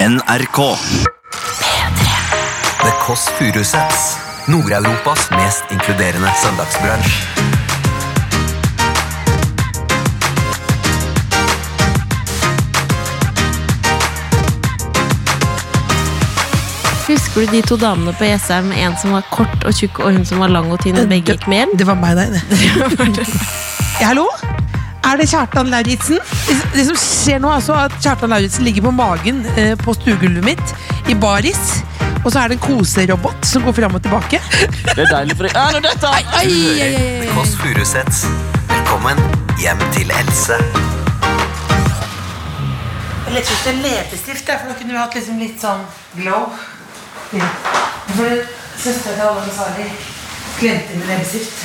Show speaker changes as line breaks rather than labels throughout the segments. NRK.
The Kåss Furuseths. Nord-Europas mest inkluderende søndagsbransj.
Husker du de to damene på Jessheim? En som var kort og tjukk, og hun som var lang og tynn. og Begge gikk med hjelm.
Det var meg, det. Ja, Hallo? Er det Kjartan Lauritzen? Det som skjer nå, er altså at Kjartan Lauritzen ligger på magen eh, på stuegulvet mitt i baris. Og så er det en koserobot som går fram og tilbake.
Det er deilig for deg. Ah, nå dette!
Du hører The Kåss Furuseths. Velkommen hjem til Else.
Jeg lette etter en leppestift, der, for da kunne vi hatt liksom litt sånn glow. Ja. For Søstera til Allan Sari glemte min leppestift.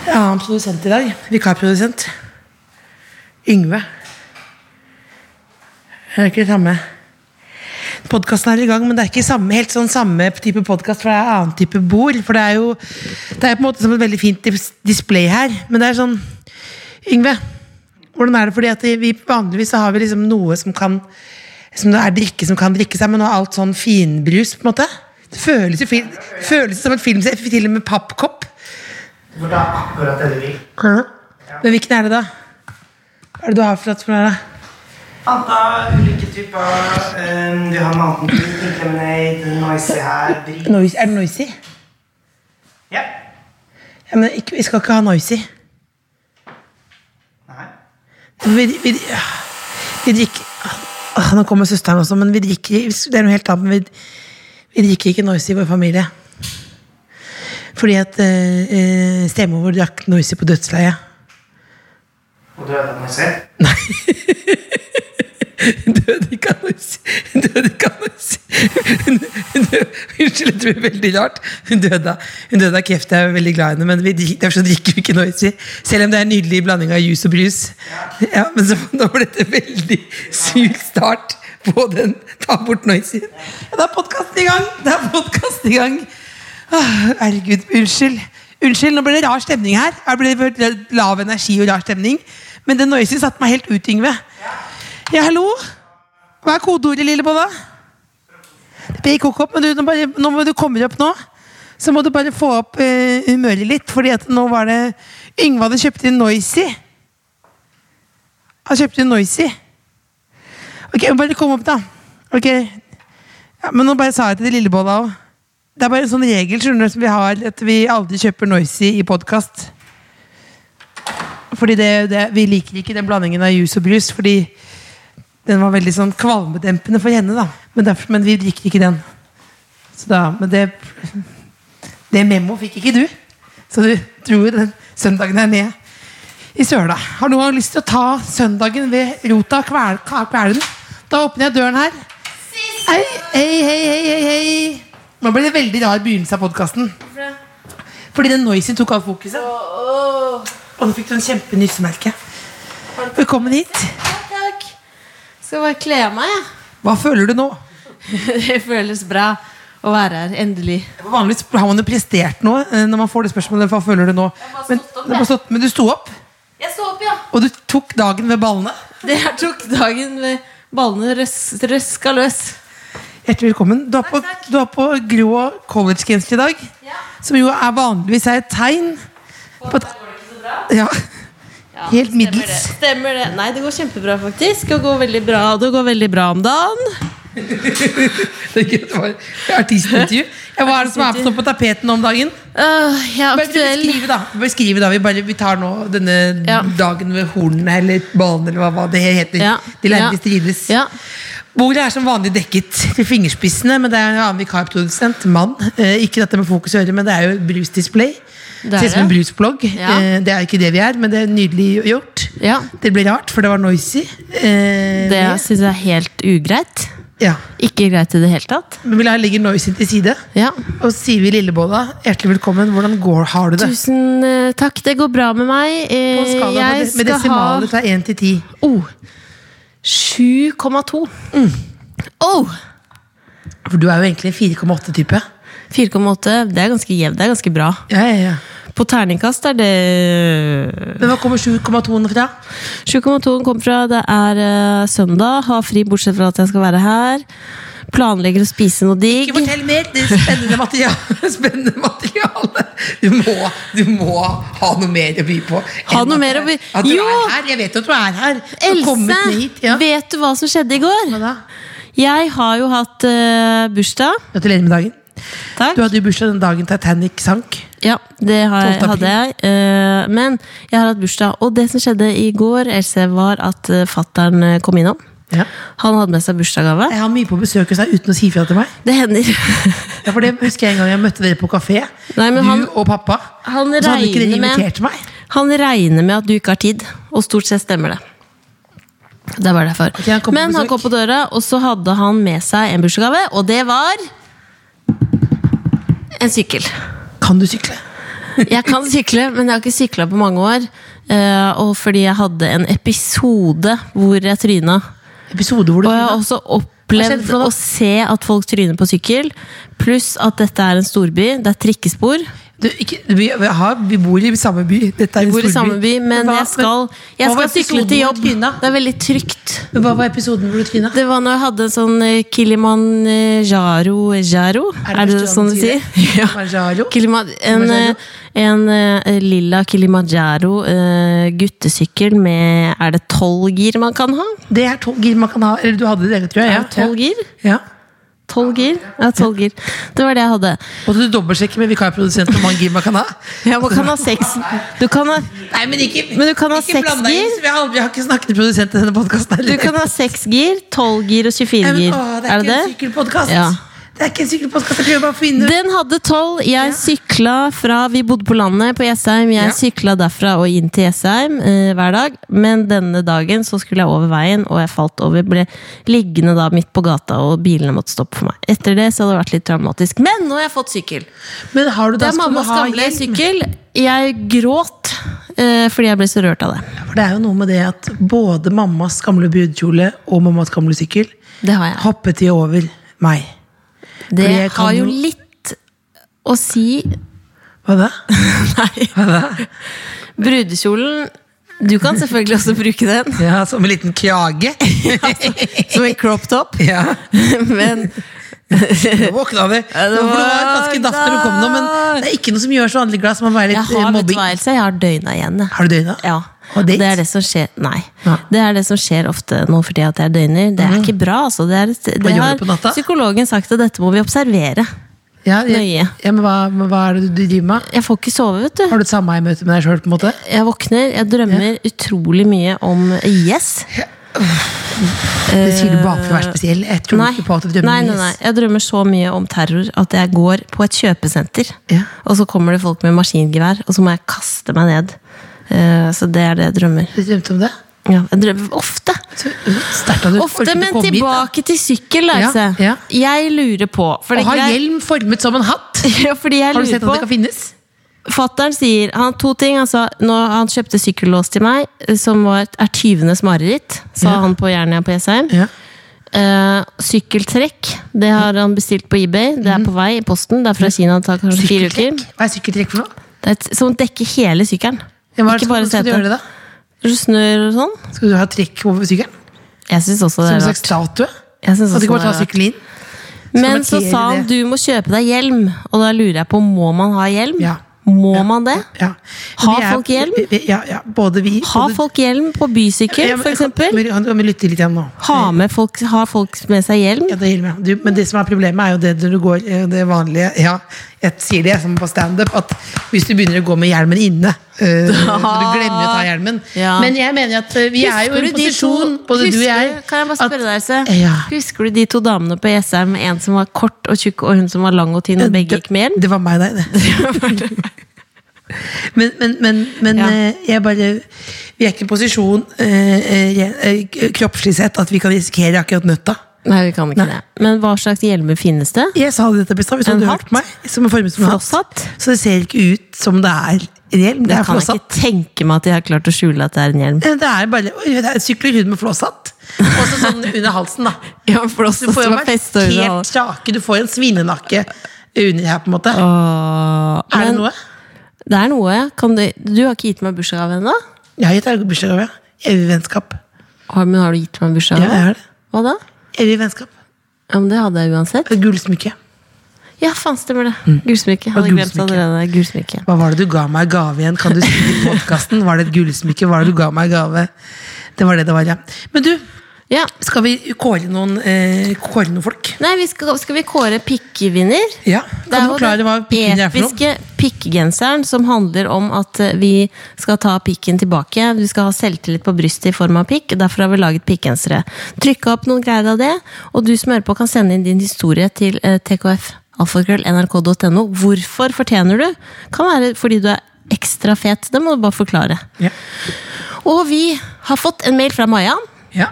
Jeg har en produsent i dag. Vikarprodusent. Yngve. Det er ikke det samme Podkasten er i gang, men det er ikke samme, helt sånn samme type podkast, for det er annen type bord. For det er jo Det er på en måte som et veldig fint dis- display her, men det er sånn Yngve, hvordan er det? Fordi at vi vanligvis så har vi liksom noe som kan Som det er drikke som kan drikke seg, men nå er alt sånn finbrus, på en måte. Det føles jo fil, føles som en film, til og med pappkopp. Hvor det er akkurat det du vil. Men hvilken er det, da? Hva er det du har for at for noe? da?
Anta ulike typer um, Du har Mountain Dew, Pink Lemonade, Noisy her, Brie
Noise, er det Noisy?
Ja.
Ja, men ikke, vi skal ikke ha Noisy.
Nei.
Vi, vi, ja, vi drikker Åh, Nå kommer søsteren også, men vi drikker Det er noe helt annet, men vi, vi drikker ikke Noisy i vår familie. Fordi at eh, eh, stemor vår drakk Noisy på dødsleiet.
Og du er Noisy?
Hun døde ikke av noise. Hun døde ikke av noise. Hun, hun døde, unnskyld, det blir veldig rart. Hun døde, av- hun døde av kreft. Jeg er veldig glad i henne, men vi, drik- derfor så drikker vi ikke noise. Selv om det er en nydelig blanding av juice og brus. Ja, men så, nå ble det en veldig syk start på den. Ta bort noise. Ja, det er podkast i gang! Det er podcast i gang. Åh, Herregud, unnskyld. Unnskyld, nå ble det rar stemning her. Her ble det lav energi og rar stemning. Men den noisy satte meg helt ut, Yngve. Ja, hallo? Hva er kodeordet, Lillebolla? Det blir kokopp, men du, nå, bare, nå må du komme opp nå. Så må du bare få opp eh, humøret litt, fordi at nå var det Yngve hadde kjøpt inn Noisy. Han kjøpte inn Noisy. Ok, bare kom opp, da. Ok. Ja, men nå bare sa jeg til det Lillebolla òg. Det er bare en sånn regel skjønner du, som vi har, at vi aldri kjøper Noisy i podkast. Fordi det, det, vi liker ikke den blandingen av juice og brus, fordi den var veldig sånn kvalmedempende for henne. da Men, derfor, men vi drikker ikke den. Så da, men det Det memo fikk ikke du. Så du dro jo den søndagen her ned i søla. Har noen lyst til å ta søndagen ved rota og kvel- ka- kvele den? Da åpner jeg døren her. Hei, hei, hei, hei, hei, hei. Nå ble det veldig rar begynnelse av podkasten. Fordi den noisen tok av fokuset. Og nå fikk du en kjempe nyssemerke. Velkommen hit.
Takk. Skal bare kle av meg, jeg.
Hva føler du nå?
Det føles bra å være her. Endelig.
Vanligvis har man jo prestert noe eh, når man får det spørsmålet. Hva føler du nå?
bare
Men,
stått opp,
du har bare
jeg.
stått, men du sto opp,
Jeg så opp, ja.
og du tok dagen ved ballene.
Det her tok dagen med ballene røs- røska løs.
Hjertelig velkommen. Du har på,
Takk, takk.
du har på grå collegegenser i dag,
Ja.
som jo er vanligvis er et tegn på at ja. Helt
stemmer
middels.
det. Stemmer det. Nei, det går kjempebra, faktisk. Det går veldig bra, det går veldig bra om dagen.
Det er gøy, det var Artistintervju. Ja, hva er det som er på- på tapeten nå om dagen?
Øh, jeg er
Bare
aktuell.
Beskrive, da. Beskrive da. Vi, bare, vi tar nå denne
Ja.
dagen ved hornene, eller ballen, eller hva, hva det heter.
Ja.
De lærde
Ja.
strides.
Ja.
Bordet er som vanlig dekket til fingerspissene, men det er en annen vikarprodusent, mann. Eh, ikke dette med fokus å gjøre, men det er jo brusdisplay.
er
Ser ut som en
det.
brusblogg.
Ja.
Eh, det er ikke det vi er, men det er nydelig gjort.
Ja.
Det ble rart, for det var noisy. Eh,
Det syns jeg er helt ugreit.
ja.
Ikke greit i det hele tatt.
Men vi lar- legger noisy til side.
Ja.
Og så sier vi Lillebolla, hjertelig velkommen. Hvordan går, har du det?
Tusen eh, takk. Det går bra med meg. Eh,
På en skala
jeg
med- med
skal ha-
desimaler fra 1 til 10.
Oh, 7,2.
Mm.
Oh,
For du er jo egentlig en 4,8-type.
4,8. Det er ganske jevnt. Det er ganske bra.
Ja, ja, ja.
På terningkast er det
Men hva kommer 7,2-en fra?
eh, 7,2 kom fra. Det er eh, søndag. Har fri bortsett fra at jeg skal være her. Planlegger å spise noe digg.
Ikke fortell mer! Det er spennende materiale. Spennende materiale. Du, må, du må ha noe mer å by på.
Ha
enn
noe
at
mer
du-
å by-
At du
Jo!
er her. Jeg vet at du er her. Du har kommet
Else,
ned hit. Ja.
vet du hva som skjedde i går?
Hva da?
Jeg har jo hatt eh, bursdag.
Gratulerer med dagen.
Takk.
Du hadde jo bursdag den dagen Titanic sank.
Ja, det har,
12. april.
hadde jeg. eh, men jeg har hatt bursdag. Og det som skjedde i går, Else, var at uh, fattern kom innom.
Ja.
Han hadde med seg bursdagsgave.
Jeg har mye på besøk hos deg uten å si fra til meg.
Det hender.
Ja, for det husker jeg en gang jeg møtte dere på kafé.
Nei, men
du
han-
og pappa.
han
og så hadde ikke dere
regner med-
invitert meg.
Han regner med at du ikke har tid, og stort sett stemmer det. Det er bare derfor.
Ok, han kom på
men han
besøk.
kom på døra, og så hadde han med seg en bursdagsgave, og det var en sykkel.
Kan du sykle?
Jeg kan sykle, men jeg har ikke sykla på mange år. eh, og fordi jeg hadde en episode hvor jeg tryna.
Episode hvor du
Og jeg har
tryna.
også
Hva skjedde
opplevd
for noe da?
å se at folk tryner på sykkel. Pluss at dette er en storby. Det er trikkespor.
du, ikke, vi, vi, har, vi bor i samme by. Dette er en
Bor i
storby.
samme by, men
Hva-
jeg skal, jeg
hva var
skal sykle
episoden
til
hvor
jobb.
du tryna?
Det er veldig trygt.
Men Hva var episoden hvor du tryna?
Det var når jeg hadde en sånn eh, Kilimanjaro eh, Jaro. Er det,
første
sånn du
gang du
sier?
det?
Ja.
Kilimanjaro?
Kilima, en, eh, en eh, lilla Kilimanjaro eh, guttesykkel med Er det tolv gir man kan ha?
Det er tolv gir man kan ha. Eller du hadde det, tror jeg.
Er det tolv gir?
Ja.
Tolv gir? Ja, tolv gir. Det var det jeg hadde.
Og du dobbeltsjekker med vikarprodusenten hvor mange gir man kan ha.
Ja, man kan ha seks Du kan ha,
Nei, men ikke,
Men du kan ha
ikke
seks
bland deg inn,
gir.
så Vi har, aldri- vi har ikke snakket med produsenten i denne podkasten.
du kan ha seks gir, tolv gir og 24
Nei, men,
gir.
åh, det er,
Er det
ikke en
det?
sykkelpodkast.
Ja.
Det er ikke en sykkelpodkast. Jeg prøver bare å finne
Den hadde tolv. Jeg sykla fra Vi bodde på landet på Jessheim. Jeg
Ja.
sykla derfra og inn til Jessheim eh, hver dag. Men denne dagen så skulle jeg over veien, og jeg falt over. Ble liggende da midt på gata, og bilene måtte stoppe for meg. Etter det så hadde det vært litt traumatisk. Men nå har jeg fått sykkel!
Men har du
Det
da
er
skal du
mammas
ha
gamle
hjelm?
sykkel. Jeg gråt eh, fordi jeg ble så rørt av det.
For det er jo noe med det at både mammas gamle brudekjole og mammas gamle sykkel
Det har jeg.
hoppet de over meg.
Det
Fordi jeg kan
har jo
jo-
litt å si
Hva da?
Nei. Brudekjolen Du kan selvfølgelig også bruke den
Ja, Som en liten krage.
som en crop top,
ja,
men
Nå våkna de.
Ja, det
For det var
var-
ganske daft når du kom nå, men det er ikke noe som gjør så vanlig glad som å være
jeg
litt
har
eh, mobbing.
betvæelse. Jeg har døgna igjen. jeg.
Har du døgna?
Ja.
Og
det
date?
er det som skjer Nei.
Ja. Mm.
Det er det som skjer ofte nå for tida, at jeg døgner. Det er ikke bra. Altså. Det er, et- det
gjør
har
du på natta?
psykologen sagt at dette må vi observere.
Ja, ja,
Nøye.
ja, men hva, men hva er det du driver med?
Jeg får ikke sove, vet du.
Har du et sameie-møte med deg sjøl, på en måte?
Jeg våkner, jeg drømmer utrolig mye om IS.
Det sier du bare for å være spesiell. Jeg tror
Eh, Nei.
ikke på at du
nei,
drømmer
nei, nei. Jeg drømmer så mye om terror at jeg går på et kjøpesenter.
Ja.
Og så kommer det folk med maskingevær, og så må jeg kaste meg ned. Eh, så det er det jeg drømmer.
Du drømte om det?
Ja, jeg drømmer ofte.
Så sterkt at du orket
Ofte,
å
men
komme hit, da.
tilbake til sykkel,
Ja,
Leise.
ja.
Jeg lurer på for det
Og ha
er grei-
hjelm formet som en hatt.
Ja, fordi jeg
Har du sett
lurer
at det kan
på
finnes?
Fatteren sier han, to ting. Han, sa, når han kjøpte sykkellås til meg, eh, som var, er tyvenes mareritt, sa
Ja.
han på Jernia på Jessheim. Eh, sykkeltrekk, det har han bestilt på eBay. Det er på vei i posten. Det er fra Kina. Det tar kanskje fire uker.
Mhm. Sykkeltrekk? Hva er sykkeltrekk for noe?
Det er et, som dekker hele sykkelen.
Ja, hva er det
Ikke
som-
bare
skal du gjøre
setet.
det da?
Så Snør og sånn.
Skal du ha trekk over sykkelen?
Jeg syns også det
Som
er
en
rart.
slags statue?
Jeg synes
Kan du
også
ikke bare
det
ta
er rart.
sykkelen inn?
Men så
markere
sa han
det.
du må kjøpe deg hjelm, og da lurer jeg på må man ha hjelm?
Ja.
Må man det?
Ja.
Har
Vi er-
folk hjelm?
vi- vi- Ja, ja. Både vi
Ha
både-
folk hjelm på bysykkel,
Ja, men-
f.eks.?
Men kan kan vi lytte litt igjen nå?
Ha med folk, ha folk med seg hjelm?
Ja, det er hjelm, ja. Du, men det som er problemet, er jo det når du går eh, det vanlige Ja, jeg sier det som på standup, at hvis du begynner å gå med hjelmen inne eh, Når du glemmer å ta hjelmen.
Ja.
Men jeg mener at eh, vi er jo i en posisjon, både du og jeg
husker, Kan jeg bare
at-
spørre deg, Else?
Ja.
Husker du de to damene på Jessheim? En som var kort og tjukk, og hun som var lang og tynn, og begge
Det-
gikk med hjelm?
Det var meg, nei. Det. men men, men, men
Ja.
eh, jeg bare Vi er ikke i en posisjon eh, eh, eh, kroppslig sett at vi kan risikere akkurat nøtta.
Nei, vi kan ikke
Nei.
det. Men hva slags hjelmer finnes det?
Jeg sa det dette i stad, hvis du
En
hadde
hatt?
hørt meg. Som er formet som en hatt.
Flosshatt?
Så det ser ikke ut som det er en hjelm. Det,
Det
er
kan jeg
flosshatt.
ikke tenke meg at de har klart å skjule at det er en hjelm.
Eh, Det er bare oi, det er sykler hud med flosshatt. Og så sånn under halsen, da.
Ja, for også
Du får jo
som er festet under
markert
halsen.
strake, du får en svinenakke under her, på en måte.
Åh,
er det
men
noe?
Det er noe, ja. Kan du, du har ikke gitt meg bursdagsgave ennå?
Jeg har gitt deg bursdagsgave. ja. Evig vennskap.
Har, men har du gitt meg
Ja,
bursdagsgave?
jeg har det.
Hva da?
Evig vennskap.
Ja, men det hadde jeg uansett.
Et gullsmykke.
Ja, faen, stemmer det. Gullsmykke. Hadde
Og
glemt
Mm. gullsmykke.
allerede. Gullsmykke.
Hva var det du ga meg i gave igjen? Kan du si det i podkasten? Var det et gullsmykke? Hva var det du ga meg i gave? Det var det det var, ja. Men du,
Ja.
skal vi kåre noen, eh, kåre noen folk?
Nei, vi skal, skal vi kåre pikkvinner?
Ja,
Det
Kan du
er
forklare
jo
hva pikken
den
er for noe?
episke pikkgenseren som handler om at eh, vi skal ta pikken tilbake. Du skal ha selvtillit på brystet i form av pikk. Derfor har vi laget pikkgensere. Trykka opp noen greier av det, og du som hører på kan sende inn din historie til eh, tkf. alfakrøll, nrk.no. Hvorfor fortjener du? Kan være fordi du er ekstra fet. Det må du bare forklare.
Ja.
Og vi har fått en mail fra Maja.
ja.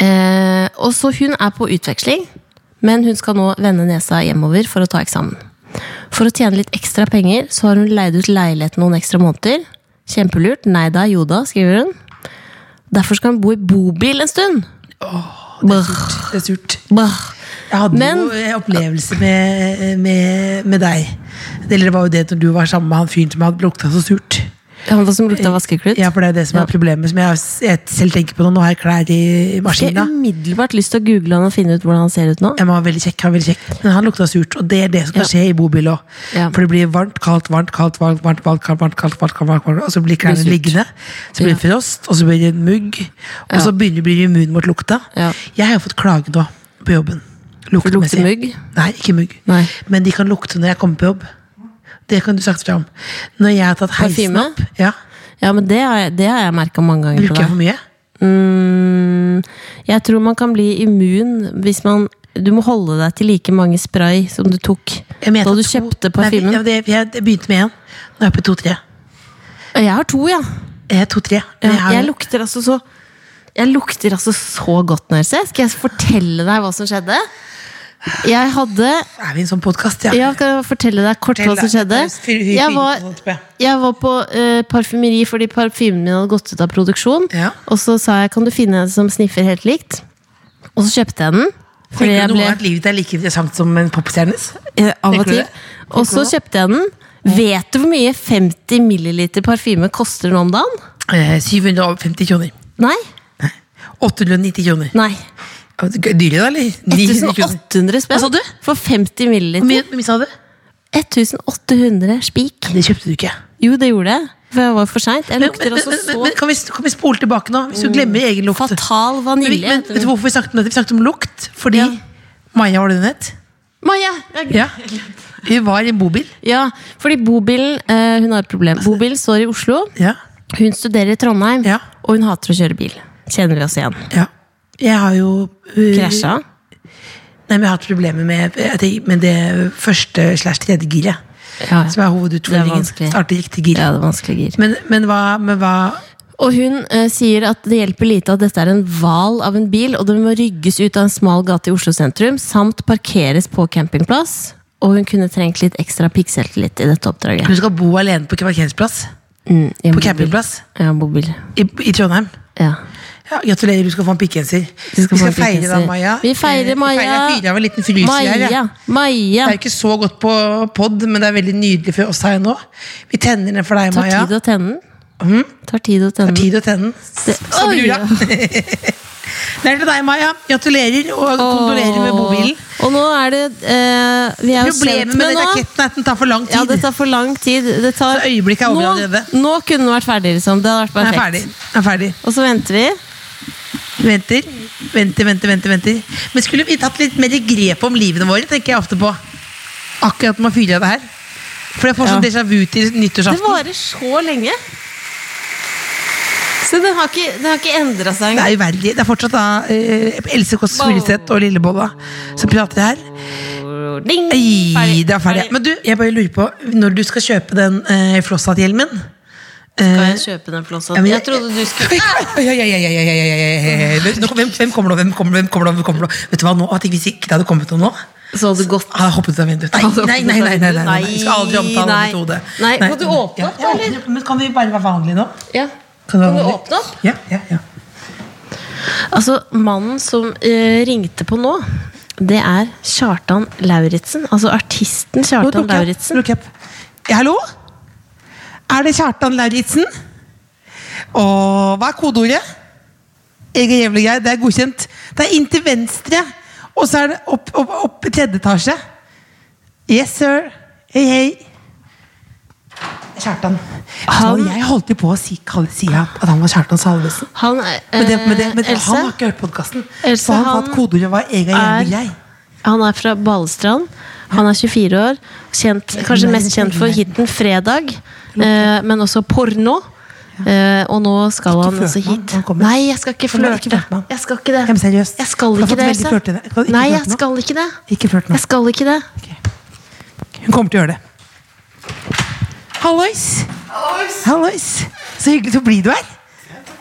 Eh, og så hun er på utveksling, men hun skal nå vende nesa hjemover for å ta eksamen. For å tjene litt ekstra penger så har hun leid ut leiligheten noen ekstra måneder. Kjempelurt. Nei da, jo da, skriver hun. Derfor skal hun bo i bobil en stund. Brr,
Det er surt.
brr.
Jeg hadde
Men-
jo en opplevelse med, med, med deg. Eller det var jo det når du var sammen med han fyren som hadde lukta så surt.
Han var som lukta vaskeklut.
Eh, Ja, for det er jo det som er
Ja.
problemet som jeg, jeg selv tenker på nå. Nå har jeg klær i i
Jeg har
maskina.
umiddelbart lyst til å google han og finne ut hvordan han ser ut nå.
Jeg må være veldig kjekk, han er veldig kjekk. Men han lukta surt, og det er det som kan
Ja.
skje i bobil òg.
Ja.
For det blir varmt, kaldt, varmt, kaldt, varmt, varmt, varmt, kaldt, varmt, kaldt, varmt, kaldt, varmt, kaldt, og så blir klærne
surt.
liggende. Så blir det frost, og så blir det en mugg, og så begynner du å bli immun mot lukta.
Ja.
Jeg har jo fått klage nå på jobben. Luktemessig.
mugg?
Nei, ikke mugg.
Nei.
Men de kan lukte når jeg kommer på jobb. Det kan du sagt fra om. Når jeg har tatt heisen
Parfyme?
opp, ja,
Ja, men Det har jeg, det har jeg merka mange ganger. på
bruker jeg
deg.
for mye?
Mm, jeg tror man kan bli immun hvis man Du må holde deg til like mange spray som du tok
Jeg mente
da du
at to-
kjøpte
Nei,
parfymen.
ja, det- Jeg, jeg begynte med én. Nå er jeg på to-tre.
Jeg har to, ja.
Jeg er to-tre. Men
Jeg,
har-
jeg lukter altså så Jeg lukter altså så godt, Nørse. Skal jeg fortelle deg hva som skjedde? Jeg hadde
Er vi i en sånn podkast, ja?
Ja, kan jeg fortelle deg kort hva som skjedde? Jeg var, jeg var på eh, parfymeri fordi parfymen min hadde gått ut av produksjon.
Ja.
Og så sa jeg kan du finne en som sniffer helt likt. Og så kjøpte jeg den. Fordi
Tenker
jeg
du noe
ble,
at livet ditt er like interessant som en popstjernes?
eh, av
Tenker
og
du
til.
det?
Og så kjøpte jeg den. Vet du hvor mye 50 milliliter parfyme koster nå om dagen?
Eh, 750 kroner.
Nei.
890 kroner.
Nei.
Dyrere, da, eller? 900 kroner.
1800 spenn
Hva sa du?
for 50
Hvor mye,
milliliter.
hvor mye sa du?
1800 spik.
Det kjøpte du ikke.
Jo, det gjorde jeg. For jeg var for seint. Jeg
Men,
lukter
men,
altså
men, men, Mm.
så
men kan, vi, kan vi spole tilbake nå? Hvis du glemmer egen lukt.
fatal
Men, vi-
vanilje.
men, vet du hvorfor vi snakket om dette? Vi snakket om lukt fordi
Ja.
Maja, var det hun het?
Maja! jeg-
Ja. Hun var i en bobil.
Ja, fordi bobilen eh, Hun har et problem. Bobilen står i Oslo.
Ja.
Hun studerer i Trondheim,
Altså- Ja.
og hun hater å kjøre bil. Kjenner vi oss igjen?
ja. Jeg har jo eh,
Krasja.
Nei, men jeg har hatt problemer med, jeg tenker- med det første slash tredje giret.
Ja, ja.
Som er hovedutfordringen.
Det er vanskelig.
Starte i riktig gir.
Ja, det er vanskelig gir.
Men, men hva, men hva
Og hun eh, sier at det hjelper lite at dette er en hval av en bil, og den må rygges ut av en smal gate i Oslo sentrum, samt parkeres på campingplass. Og hun kunne trengt litt ekstra pikseltillit i dette oppdraget.
Hun skal bo alene på parkeringsplass?
Mm, i en
På
bobil.
campingplass?
Ja, bobil.
I, i Trondheim?
Ja.
Ja, gratulerer, du skal få en pikkgenser.
Du
Vi skal
få en
feire
pikkenser.
da, Maja.
Vi
Eh,
feirer Maja.
Vi feirer, jeg fyrer av en liten frys i her. jeg.
Maja. Maja.
Det er jo ikke så godt på pod, men det er veldig nydelig for oss her nå. Vi tenner den for deg,
Tar
Maja. Mhm.
tid å tenne den. Tar tid å tenne den.
Tid å tenne den.
Det-
Så
Oi,
brura.
ja.
Det er til deg, Maja. Gratulerer, og kondolerer med bobilen.
Åh, Og nå er det eh, Vi er jo
Problemet
kjent
med
med
den
nå.
raketten er at den tar for lang tid.
Ja, det tar for lang tid. Det tar,
Så øyeblikket er over
nå,
allerede.
nå kunne den vært ferdig, liksom. Det hadde vært
Den er
perfekt.
ferdig. Den er ferdig.
Og så venter vi.
Venter, venter, venter, venter, venter. Men skulle vi tatt litt mer grep om livene våre, tenker jeg ofte på. Akkurat når man fyrer av det her. For jeg får sånn
Ja.
déjà vu til
Det
nyttårsaften.
varer så lenge. Så den har ikke, den har ikke endra seg
Det
engang.
er uverdig. Det er fortsatt da eh, Else Kåss Furuseth og Lillebolla som prater her.
Ding!
Ei, det er ferdig. Men du, jeg bare lurer på, når du skal kjøpe den eh, flosshatt-hjelmen eh,
Skal jeg kjøpe den flossa?
Ja, men
Jeg trodde du skulle
Oi, oi, oi, oi, oi, oi, oi, oi, oi. Nå- Hvem, hvem kommer nå? Hvem kommer nå? Hvem kommer nå? Hvem kommer nå? Vet du hva, nå, at Hvis ikke det hadde kommet noe nå
Så hadde det gått.
Han har hoppet ut av vinduet.
Han har
Nei,
hoppet
nei,
ut av
nei. nei, nei, nei,
vinduet.
Vi skal aldri omtale
Nei.
den metode.
Nei, må du åpne opp,
ja,
eller?
ja, Men Kan vi bare være vanlige nå?
Ja.
Kan vi
Kan du
være vanlige?
åpne opp?
Ja, ja, ja.
Altså, mannen som eh, ringte på nå, det er Kjartan Lauritzen. Altså artisten
Nå
Kjartan
lukker jeg opp,
Lauritzen.
lukker jeg opp. Ja, hallo? Er det Kjartan Lauritzen? Og hva er kodeordet? Egil Jevlegreid, det er godkjent. Det er inn til venstre, og så er det opp, opp, opp i tredje etasje. Yes, sir. Hei, hei. Kjartan.
Han-
Jeg holdt jo på å si, kalle, si at han var Kjartan Salvesen.
Han er
Men, det, men, det, men det,
Eh, Else,
han har ikke hørt podkasten.
Else,
Så han, han
han
at kodeordet var Egil Jevlegreid.
han er fra Balestrand. Han er 24 år. Kjent, kanskje mest kjent for hiten 'Fredag', eh, men også porno. Eh, og nå skal
Ikke
han
flørte
altså
med han
hit.
når han kommer.
Nei, jeg skal ikke
Kom igjen, ikke flørte med
flørte.
han.
Jeg skal ikke det.
Jamen, seriøst.
Jeg skal
Du har
ikke
fått
det,
veldig flørtende. Kan du
Else.
ikke
Nei, jeg
flørte nå?
skal ikke det.
Ikke flørt nå.
Jeg skal ikke det.
Hun kommer til å gjøre det. Hallois! Hallois! Så hyggelig. Så blid du er.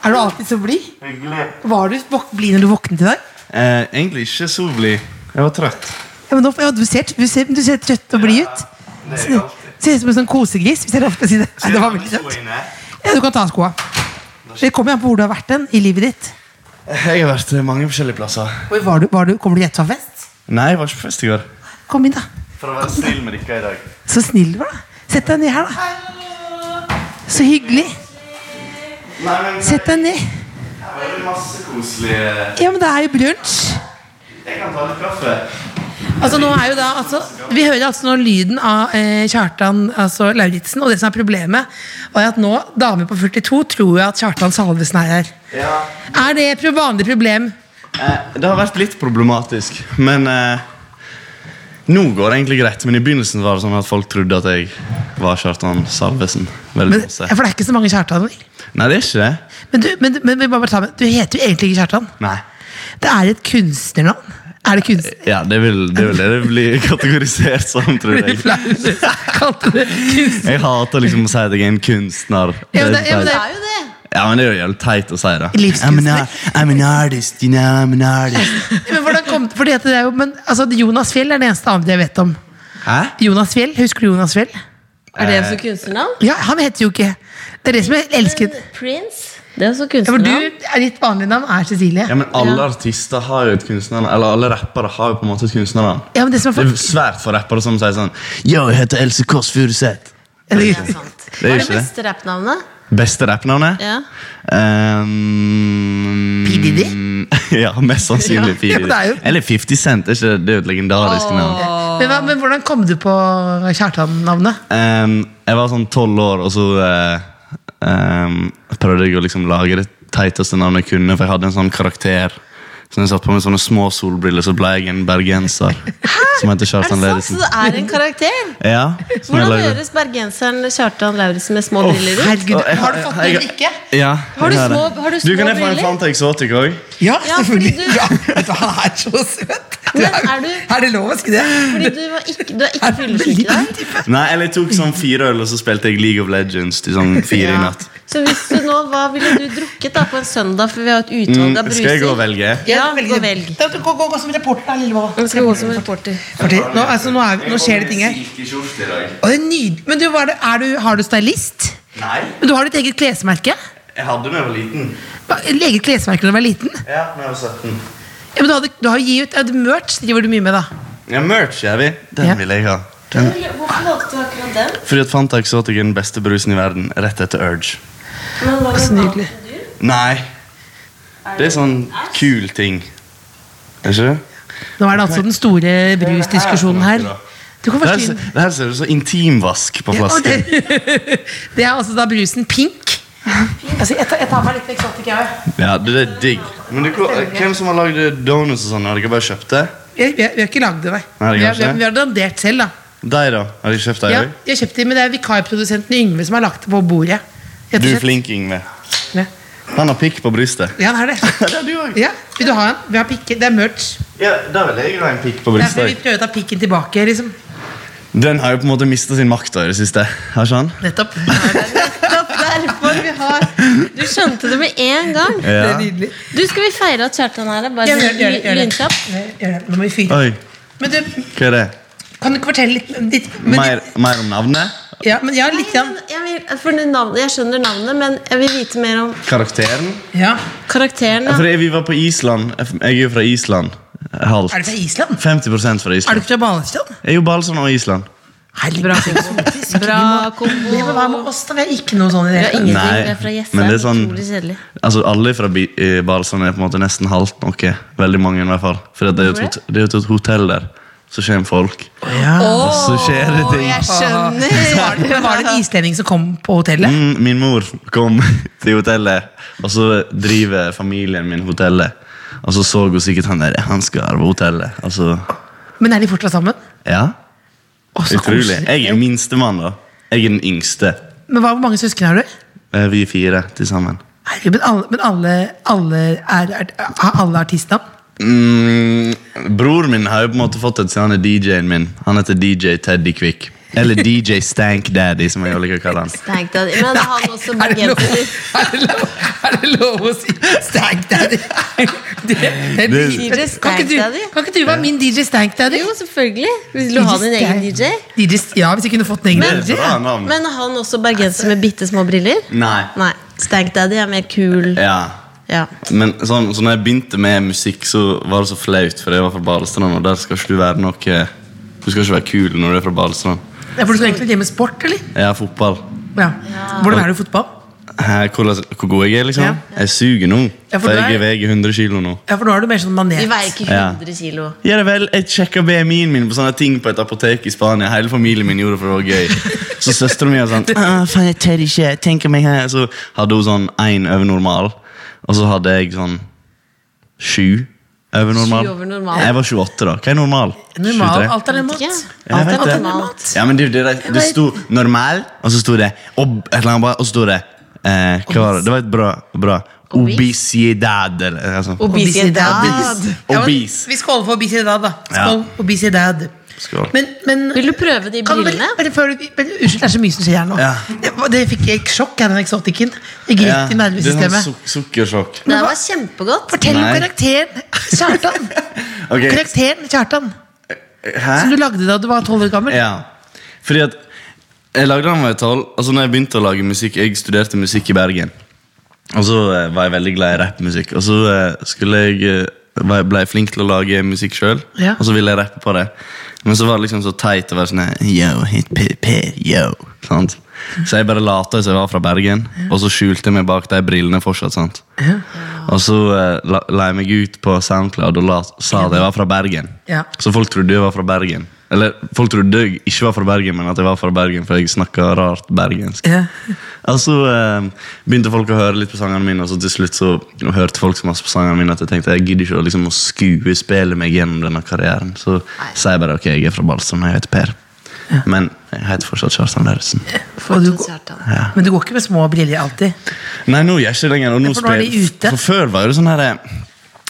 Er du alltid så blid? Var du våk- blid når du våknet i dag?
Eh, egentlig ikke så blid. Jeg var trøtt.
Ja, men nå, ja, du, ser, du, ser, du ser trøtt og blid ut.
det er jeg
Ser
alltid.
ser ut som en sånn kosegris. Hvis jeg er lov til å si det. Nei, det var veldig søtt. Ja, du kan ta av skoa. Det kommer jo an på hvor du har vært den i livet ditt.
Jeg har vært eh, mange forskjellige plasser.
Oi, var du, var du, kommer du rett fra fest?
Nei, jeg var ikke på fest i går.
Kom inn, da.
For å være snill med dere i dag.
Så snill du var, da. Sett deg ned her, da. Så hyggelig.
Nei, men
Sett deg ned.
det er masse koselige
Ja, men det er jo brunsj.
Jeg kan ta litt kaffe.
Altså nå er jo da, altså, Vi hører altså nå lyden av eh, Kjartan altså Lauritzen, og det som er problemet, var at nå, damer på 42, tror jeg at Kjartan Salvesen er her.
Ja.
Er det et vanlig problem?
Eh, det har vært litt problematisk, men eh, nå går det egentlig greit. Men i begynnelsen var det sånn at folk trodde at jeg var Kjartan Salvesen. Veldig
Men,
masse.
for det er ikke så mange Kjartaner.
Nei, det er ikke det.
Men du, men, men, vi må bare ta med, du heter jo egentlig ikke Kjartan.
Nei.
Det er et kunstnernavn. Er det kunst...
Ja, det er vel det, er vel det det blir kategorisert som, tror
Blir du
jeg.
flau? Kalte du det kunstner?
Jeg hater liksom å si at jeg er en kunstner.
Ja, men det- ja, men
teit.
det-
er jo det.
ja, men det er jo jævlig teit å si det.
Livskunstner.
I'm an, ar- I'm an artist, you know, I'm an artist.
Men hvordan kom fordi at det? Er jo, men, altså, Jonas Fjell er den eneste andre jeg vet om.
Hæ?
Jonas Fjell, Husker du Jonas Fjell?
Er det
Eh,
også kunstnernavn?
Ja, Han heter jo ikke Det er det som jeg elsket.
Prince. Det er også
Ja, for du
kunstnernavn.
er ditt vanlige navn er Cecilie.
Ja, men alle artister har jo et kunstnernavn. Eller alle rappere har jo på en måte et kunstnernavn.
Ja, men det som er
Det
for...
er svært for rappere som sier sånn Yo, jeg heter Else Kåss Furuseth.
Eller,
Det
Hva er
er jo
det
ikke det.
beste rappnavnet?
Beste rappnavnet?
Ja.
Um,
P. Diddy?
ja, mest sannsynlig P.
Ja, men
Diddy.
det er jo-
Eller 50 Cent. Er ikke, det- det er jo et legendarisk navn.
men, hva, men hvordan kom du på Kjartan-navnet?
Um, jeg var sånn tolv år, og så eh, um, prøvde jeg å liksom lage det teiteste navnet jeg kunne, for jeg hadde en sånn karakter. Så når jeg satt på meg sånne små solbriller, så ble jeg en bergenser som heter
Er det
Kjartan
sant? Så
Lerisen.
det er en karakter?
Ja, som jeg
Hvordan
lagde.
høres bergenseren Kjartan Lauritzen med små briller ut?
Herregud,
Å, jeg-
har du fått noe
jeg-
drikke?
Ja,
Har du
jeg
små-
det.
har du små
Du kan jeg få en
briller?
Fanta Exotic òg.
Ja,
Ja, fordi du-
Ja, vet du, han er så søt! Du
Men
er-
er du-
er det lov å si det?
Fordi du, var ikke, du er ikke
Er du
fyllesyk i dag?
veldig type?
Nei, eller jeg tok sånn fire øl, og så spilte jeg League of Legends til sånn fire i natt.
Så hvis du nå, hva ville du drukket da på en søndag, for vi har et utvalg av
Mm,
bruser?
skal jeg gå og velge?
Ja,
veldig.
gå og velg.
Da, du, gå, gå, gå som reporter, da, lille Vål.
Jeg skal gå som reporter.
Fordi- Nå, altså, nå, er, nå skjer det ting her.
Silkekjorte i dag.
Å, det er nydelig. Men du, hva er det, er du, har du stylist?
Nei,
Men du har ditt eget klesmerke?
jeg hadde den da jeg var liten.
Hva- Eget klesmerke da du var liten?
Ja, da jeg var 17.
Ja, men du, hadde, du har jo gitt ut et merch, driver du mye med, da?
Ja, merch, er vi. Den
Ja.
vil jeg ha.
Hvorfor valgte du akkurat den?
Fordi at Fanta Exotic er den beste brusen i verden, rett etter Urge.
Men hva
Så nydelig.
Nei. Det er sånn kul ting. Er ikke det?
Nå er det altså den store brusdiskusjonen her. Du kan først
Det her,
inn.
ser- det her ser ut som intimvask på
Ja, og
flasken.
det, det er altså da brusen pink. Altså, jeg, tar, jeg tar meg litt eksotisk, jeg.
Ja, det er digg. Men det, hvem som har lagd donuts og sånn? Har dere bare kjøpt det?
Vi, vi, vi har ikke lagd det, nei.
Nei, det
vi, har,
kanskje
vi, har,
det.
vi har dandert selv, da.
Deg, da? Har dere kjøpt deg
Ja,
òg?
jeg kjøpte det, men det er vikarprodusenten Yngve som har lagt det på bordet. Rett og
Du er
slett.
flink, Yngve.
Ja.
Han har pikk på brystet.
Ja, han har det.
det er du òg.
Ja, vil du ha en? Vi har pikken. Det er merch.
Ja, da vil jeg ha en pikk på
Det er fordi vi
brystet.
prøver å ta pikken tilbake, liksom.
Den har jo på en måte mista sin makt da i det siste. Har ikke han?
Nettopp.
Derfor vi har Du skjønte det med en gang.
Det
Ja.
er nydelig.
Du, skal vi feire at Kjartan er her? Bare
Ja, gjør det, gjør det, gjør det.
lynkjapt.
Gjør det. Nå må vi fyre.
Oi,
Men du,
hva er det?
kan du ikke fortelle litt om ditt men,
Mer, mer om navnet?
Ja, men ja, litt grann.
Men Jeg, vil, for det navnet, jeg skjønner navnet, men jeg vil vite mer om
Karakteren?
Ja.
karakteren.
Ja,
Da.
fordi vi var på Island. Jeg er jo fra Island. Halvt.
Er du fra Island?
50 fra
Er
Island.
du ikke fra Balestrand?
Jeg er jo Balsand og Island.
Bra
Herregud,
kombo.
eksotisk.
Bra
Vi må-
kombo.
Ja, men Hva med oss, da? Vi er ikke noe sånn i
Vi
det
har
hele tatt.
ingenting.
Nei,
vi er fra Jessheim.
men det er sånn-
Utrolig kjedelig.
Altså Alle fra Bi- eh, Balsand er på en måte nesten halvt noe. Veldig mange, i hvert fall. For det er jo et, hot- det er jo et hotell der. Så kommer folk,
Ja.
og så skjer det ting.
Jeg skjønner!
Var det, var det en islending som kom på hotellet?
Mm, min mor kom til hotellet, og så driver familien min hotellet. Og så så hun sikkert han der, han skal arve hotellet. Altså,
Men er de fortsatt sammen?
ja,
Å, så
utrolig.
koselig.
Jeg er minstemann, da. Jeg er den yngste.
Men hva, hvor mange søsken har du?
Eh, Vi er fire til sammen.
Herregud, men alle, men alle, alle er, er, Har alle artistnavn?
Mm, bror min har jo på en måte fått et siden han er DJ-en min. Han heter DJ Teddy Quick. Eller DJ Stank Daddy, som jeg jo liker å kalle han.
Stank Daddy. Men han også
er det, lov,
bergenser.
er, det lov, er det lov å si Stank Daddy? Det, det,
Det-
DJ
kan, ikke
Stank
du,
Daddy?
kan ikke du være min DJ Stank Daddy?
Jo, selvfølgelig. Vil du ha din egen DJ?
DJ, ja, hvis jeg kunne fått en egen
Det er
DJ.
et bra navn. Mm.
Men er han også bergenser med bitte små briller?
Nei.
Nei. Stank Daddy er mer kul.
Ja.
Ja.
Men sånn, så når jeg begynte med musikk, så var det så flaut, for jeg var fra Balestrand, og der skal ikke du være noe Du skal ikke være kul når du er fra Balestrand.
Ja, for du skal egentlig drive med sport, eller?
Jeg har fotball.
Ja. Hvordan er du i fotball?
Hæ, Hvordan, hvor god jeg er, liksom?
Ja.
Jeg suger nå.
Ja, for
for
du er-
jeg veier 100 kilo nå.
Ja, for nå er du mer sånn
Vi
manet.
veier ikke
Ja.
100 kilo.
Ja, det er vel, Jeg sjekka BMI-en min på sånne ting på et apotek i Spania. Hele familien min gjorde det for det var gøy. Så søstera mi var sånn «Åh, faen, jeg tør ikke, tenk om jeg har Så hadde hun sånn én over normal, og så hadde jeg sånn sju over normal.
Sju over normal.
Jeg var 28 da. Hva er normal?
Normal,
23?
alt er normalt.
Ja.
Ja, jeg
Alt er
vet det.
normalt.
Ja, men det, det, det, det sto 'normal', og så sto det ob, et eller annet, bare, og så sto det eh, Hva var det? Det var et bra, bra.
Obis?
Obisidad, eller altså.
Obisidad.
Obisidad.
Ja, men
Obis.
Vi skåler for obisidad, da. Skål,
Ja.
obisidad.
Skål.
Men, men
Vil du prøve de
Kan du
brillene?
Bare, bare, før du- bare, unnskyld, det er så mye som skjer her nå.
Ja.
Det, det fikk jeg sjokk av den eksotikken. Jeg gikk i
Ja, det er sånn
nervesystemet.
suk sukkersjokk.
Det her var kjempegodt.
Fortell om
Nei.
karakteren Kjartan.
Ok.
Karakteren Kjartan
Hæ?
som du lagde da du var tolv år gammel.
Ja, fordi at jeg lagde den da jeg var tolv. Altså når jeg begynte å lage musikk Jeg studerte musikk i Bergen. Og så eh, var jeg veldig glad i rappmusikk. Og så eh, skulle jeg eh, var jeg- ble jeg flink til å lage musikk sjøl,
Ja.
og så ville jeg rappe på det. Men så var det liksom så teit å være sånn her, Yo, hit per, per, yo sant? Så jeg bare lata som jeg var fra Bergen, og så skjulte jeg meg bak de brillene fortsatt. sant? Og så eh, la, la jeg meg ut på SoundCloud og la, sa at jeg var fra Bergen.
Ja.
Så folk trodde jeg var fra Bergen. Eller folk trodde jeg ikke var fra Bergen, men at jeg var fra Bergen, for jeg snakka rart bergensk.
Ja.
Og så eh, begynte folk å høre litt på sangene mine, og så til slutt så hørte folk så masse på sangene mine at jeg tenkte jeg gidder ikke å liksom å skuespille meg gjennom denne karrieren. Så sier jeg bare ok, jeg er fra Balsam, jeg heter Per. Men jeg heter fortsatt Kjartan Lauritzen.
Og du,
Kjartan.
men du går ikke med små briller alltid.
Nei, nå gjør jeg ikke det lenger. Og nå
Ja, for nå er de
spiller-
ute.
For før var det sånn her eh,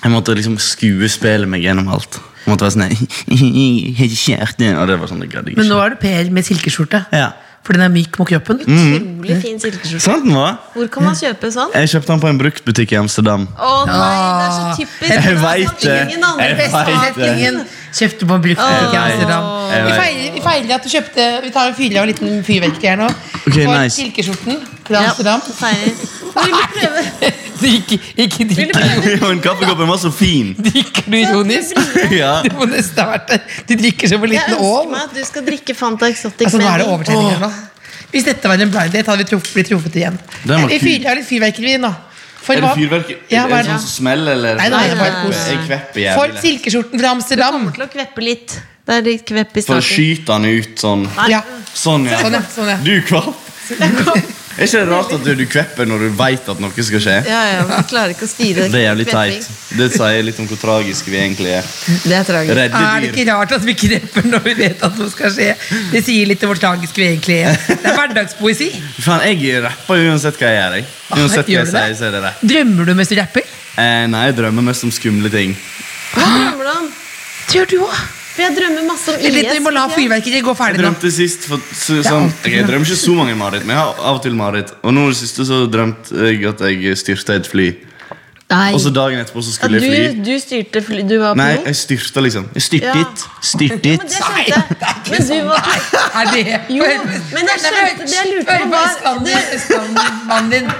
Jeg måtte liksom skuespille meg gjennom alt. Jeg måtte være sånn her, «Helt kjærte», Og det var sånn, det gadd jeg
Men nå
ikke.
er du Per med silkeskjorte.
Ja. Mm.
For den er myk mot kroppen.
Utrolig fin silkeskjorte.
Sant nå?
Hvor kan man kjøpe sånn?
Jeg kjøpte den på en bruktbutikk i Amsterdam.
Å nei, det er så typisk.
Ah. Jeg
Det er
vet
sånn
det.
Ingen andre
Jeg
beste
vet det.
setningen.
Kjøpte på en brukt butikk i
Åh.
Amsterdam.
Jeg
Vi
vet.
feirer, vi feirer at du kjøpte Vi tar og fyrer av en liten fyrverkeri her nå.
Ok,
for
nice.
silkeskjorten fra
Ja,
Amsterdam.
feirer. Vil du prøve?
Ikke, ikke drikk
Og en kaffekoppen var så fin!
Drikker du ironisk?
Ja.
Du må nesten ha vært der. Du drikker som en
Jeg
liten
ønsker
ål.
meg at du skal drikke Fanta Exotic.
Altså, nå er det
med
overtenning her nå. Hvis dette var en blind date, hadde vi truff, blitt truffet igjen.
Den var
Vi
kul.
fyrer av litt fyrverkeri nå. For
Er det
hva-
fyrverkeri?
Ja, hva er
er det sånn
det?
som smeller, eller?
Nei, nei, det er bare
Jeg
kos.
kvepper- Jeg kvepper
For
jævlig.
silkeskjorten fra Amsterdam.
Kommer til å kveppe litt. Det er litt kvepp i
For å
starten.
skyte han ut sånn.
Ja.
Sånn, ja.
Sånn, ja, sånn, ja.
Du kvapp. Er ikke det rart at du, du kvepper når du veit at noe skal skje?
Ja, ja, man klarer ikke å styre
Det er jævlig
kvepping.
teit. Det sier litt om hvor tragiske vi egentlig er.
Det er tragisk.
Er det
Redde dyr.
ikke rart at vi krepper når vi vet at noe skal skje? Det sier litt om hvor tragisk vi egentlig er. Det er hverdagspoesi.
Faen, jeg rapper uansett hva jeg gjør. Jeg. Uansett hva
Ah, Gjør
jeg
du
sier,
det?
så er det rett.
Drømmer du mens du rapper?
Eh, nei, jeg drømmer mest om skumle ting.
Hva drømmer du om?
Det gjør du òg.
For jeg drømmer masse om IS.
Vi må la fyrverkeriet gå
Jeg
ferdig nå.
drømte sist for, så, sånn,
alltid
ok, Jeg drømmer ikke så mange mareritt, men jeg har av og til mareritt. Og nå i det siste så drømte jeg at jeg styrta et fly.
Nei.
Og så dagen etterpå så skulle jeg fly.
du, du styrte fly. Du var
Nei,
pilot?
jeg styrta, liksom. Jeg styrtet.
Ja, men
Styrtet.
det skjønte jeg. Men
sånn.
du var
Er det
Jo, men jeg skjønte det jeg lurte på, var det
Østlandsmannen din.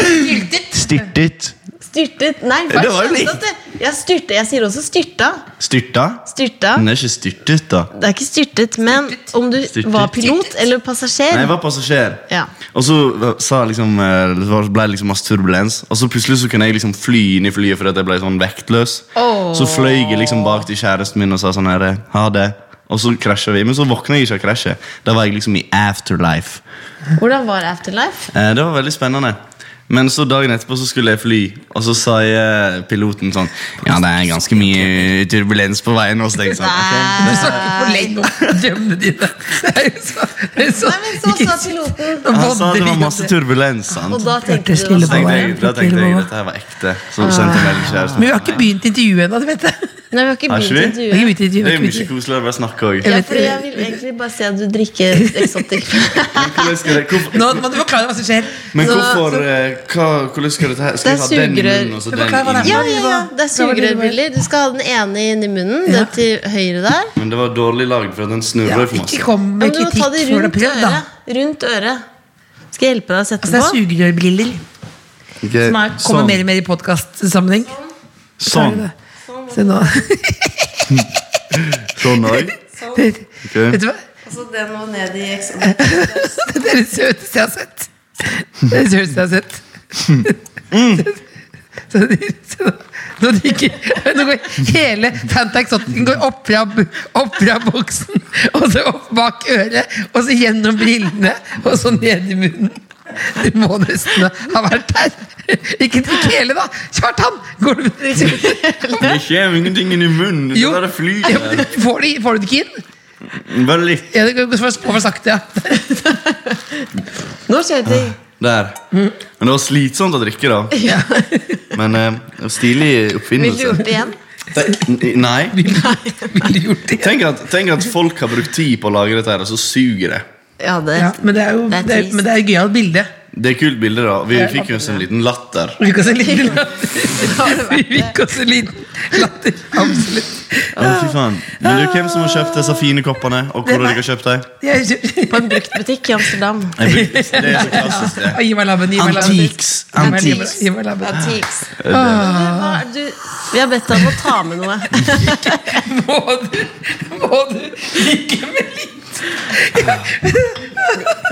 Styrtet.
Styrtet.
styrtet Nei, for
Det
jeg
var jo
skjønte
litt-
at det Jeg styrte, jeg sier også styrta.
Styrta?
Styrta.
Den er ikke styrtet, da.
Det er ikke styrtet, men om du
Styrtet.
var pilot eller passasjer
Nei, jeg var passasjer.
Ja.
Og så sa liksom, eh, det var- ble det liksom masse turbulens. Og så plutselig så kunne jeg liksom fly inn i flyet fordi at jeg ble sånn vektløs.
Åh.
Så fløy jeg liksom bak til kjæresten min og sa sånn her, ha det. Og så krasja vi. Men så våkna jeg ikke av krasjet. Da var jeg liksom i afterlife.
Hvordan var afterlife?
Eh, Det var veldig spennende. Men så dagen etterpå så skulle jeg fly, og så sa jeg piloten sånn Ja, det er ganske mye turbulens på veien. Og så tenkte jeg sånn, ok.
Du snakker for lenge om drømmene dine. Det er jo så, det er så,
Nei, men så sa piloten
Han sa det var masse turbulens. sant?
Og da tenkte
Hørtes
du
lille
Så tenkte jeg,
Hva
da
var det?
tenkte jeg dette her var ekte. Så sendte jeg melding til kjæresten.
Ah. Men vi har ikke begynt intervjuet ennå, du vet det.
Nei, vi har ikke
Har ikke vi?
begynt
Vi har
intervjuet.
ikke begynt intervjuet,
Det
vi har
er jo
ikke
mye
begynt.
koseligere å bare snakke òg.
Ja, for jeg vil egentlig bare si at du drikker Exotic.
Hvorfor,
Nå må du forklare hva som skjer.
men
Så-
hvorfor eh, hva, Hvordan skal dette her Skal
Det er
jeg ha den i
sugerør.
munnen og så
Men
den
forklar hva det
inn?
er.
Ja, ja, ja. Det er sugerørbriller. Du skal ha den ene inn i munnen, den til høyre der.
Men det var dårlig lagd, for at den
Ja,
snurrer for
ikke
masse.
kom
Ja, men
med
du må
kritikk
ta det
før du har
rundt
prøvd, da.
øret. Rundt øret. Skal jeg hjelpe deg å
Altså,
sette
det er
på?
sugerørbriller
Ikke-
som er, kommer
sånn.
mer og mer i podkastsammenheng.
Sånn.
Se nå.
Sånn òg.
Vet du hva?
Altså, den må ned i
Det er det søteste jeg har sett. Det er det søteste jeg har sett. Så, så, nå drikker Nå går hele Fanta Exoticen går opp fra, opp fra boksen, og så opp bak øret, og så gjennom brillene, og så ned i munnen. Du må nesten ha vært der. Ikke drikk hele, da! Kjartan! Går du
Det kommer ingenting inn i munnen. Det
Jo.
bare
Ja, men
flyr.
du- Får du får du det ikke inn?
Bare litt.
Ja, det går går for for sakte, ja.
Nå skjer det ting.
Der. Men det var slitsomt å drikke, da.
Mm. Ja.
Men eh, stilig
Vil du gjort
oppfinnelse.
det igjen?
Te- Nei.
Ville du gjort det?
Tenk at, tenk at folk har brukt tid på å lage dette, her og så suger det.
Ja, det
Ja, men det er jo
Det er
det er,
trist.
men det er et gøyalt bilde.
Det er kult bilde, da. Vi fikk jo oss en sånn liten latter.
Vi fikk oss en liten latter. Vi fikk oss en liten latter. Absolutt.
Ja, fy faen. Men du, hvem som har kjøpt disse fine koppene, og hvor har dere kjøpt dem?
Jeg kjøper-
På en bruktbutikk i Amsterdam.
Jeg brukte- Det er så klassisk, det.
Gi meg labben, gi meg labben.
Antiques,
Gi meg- gi meg-
antiques.
Gi meg labben.
Antiques. Hva er du- Vi har bedt deg om å ta med noe.
Må du, må du ikke med litt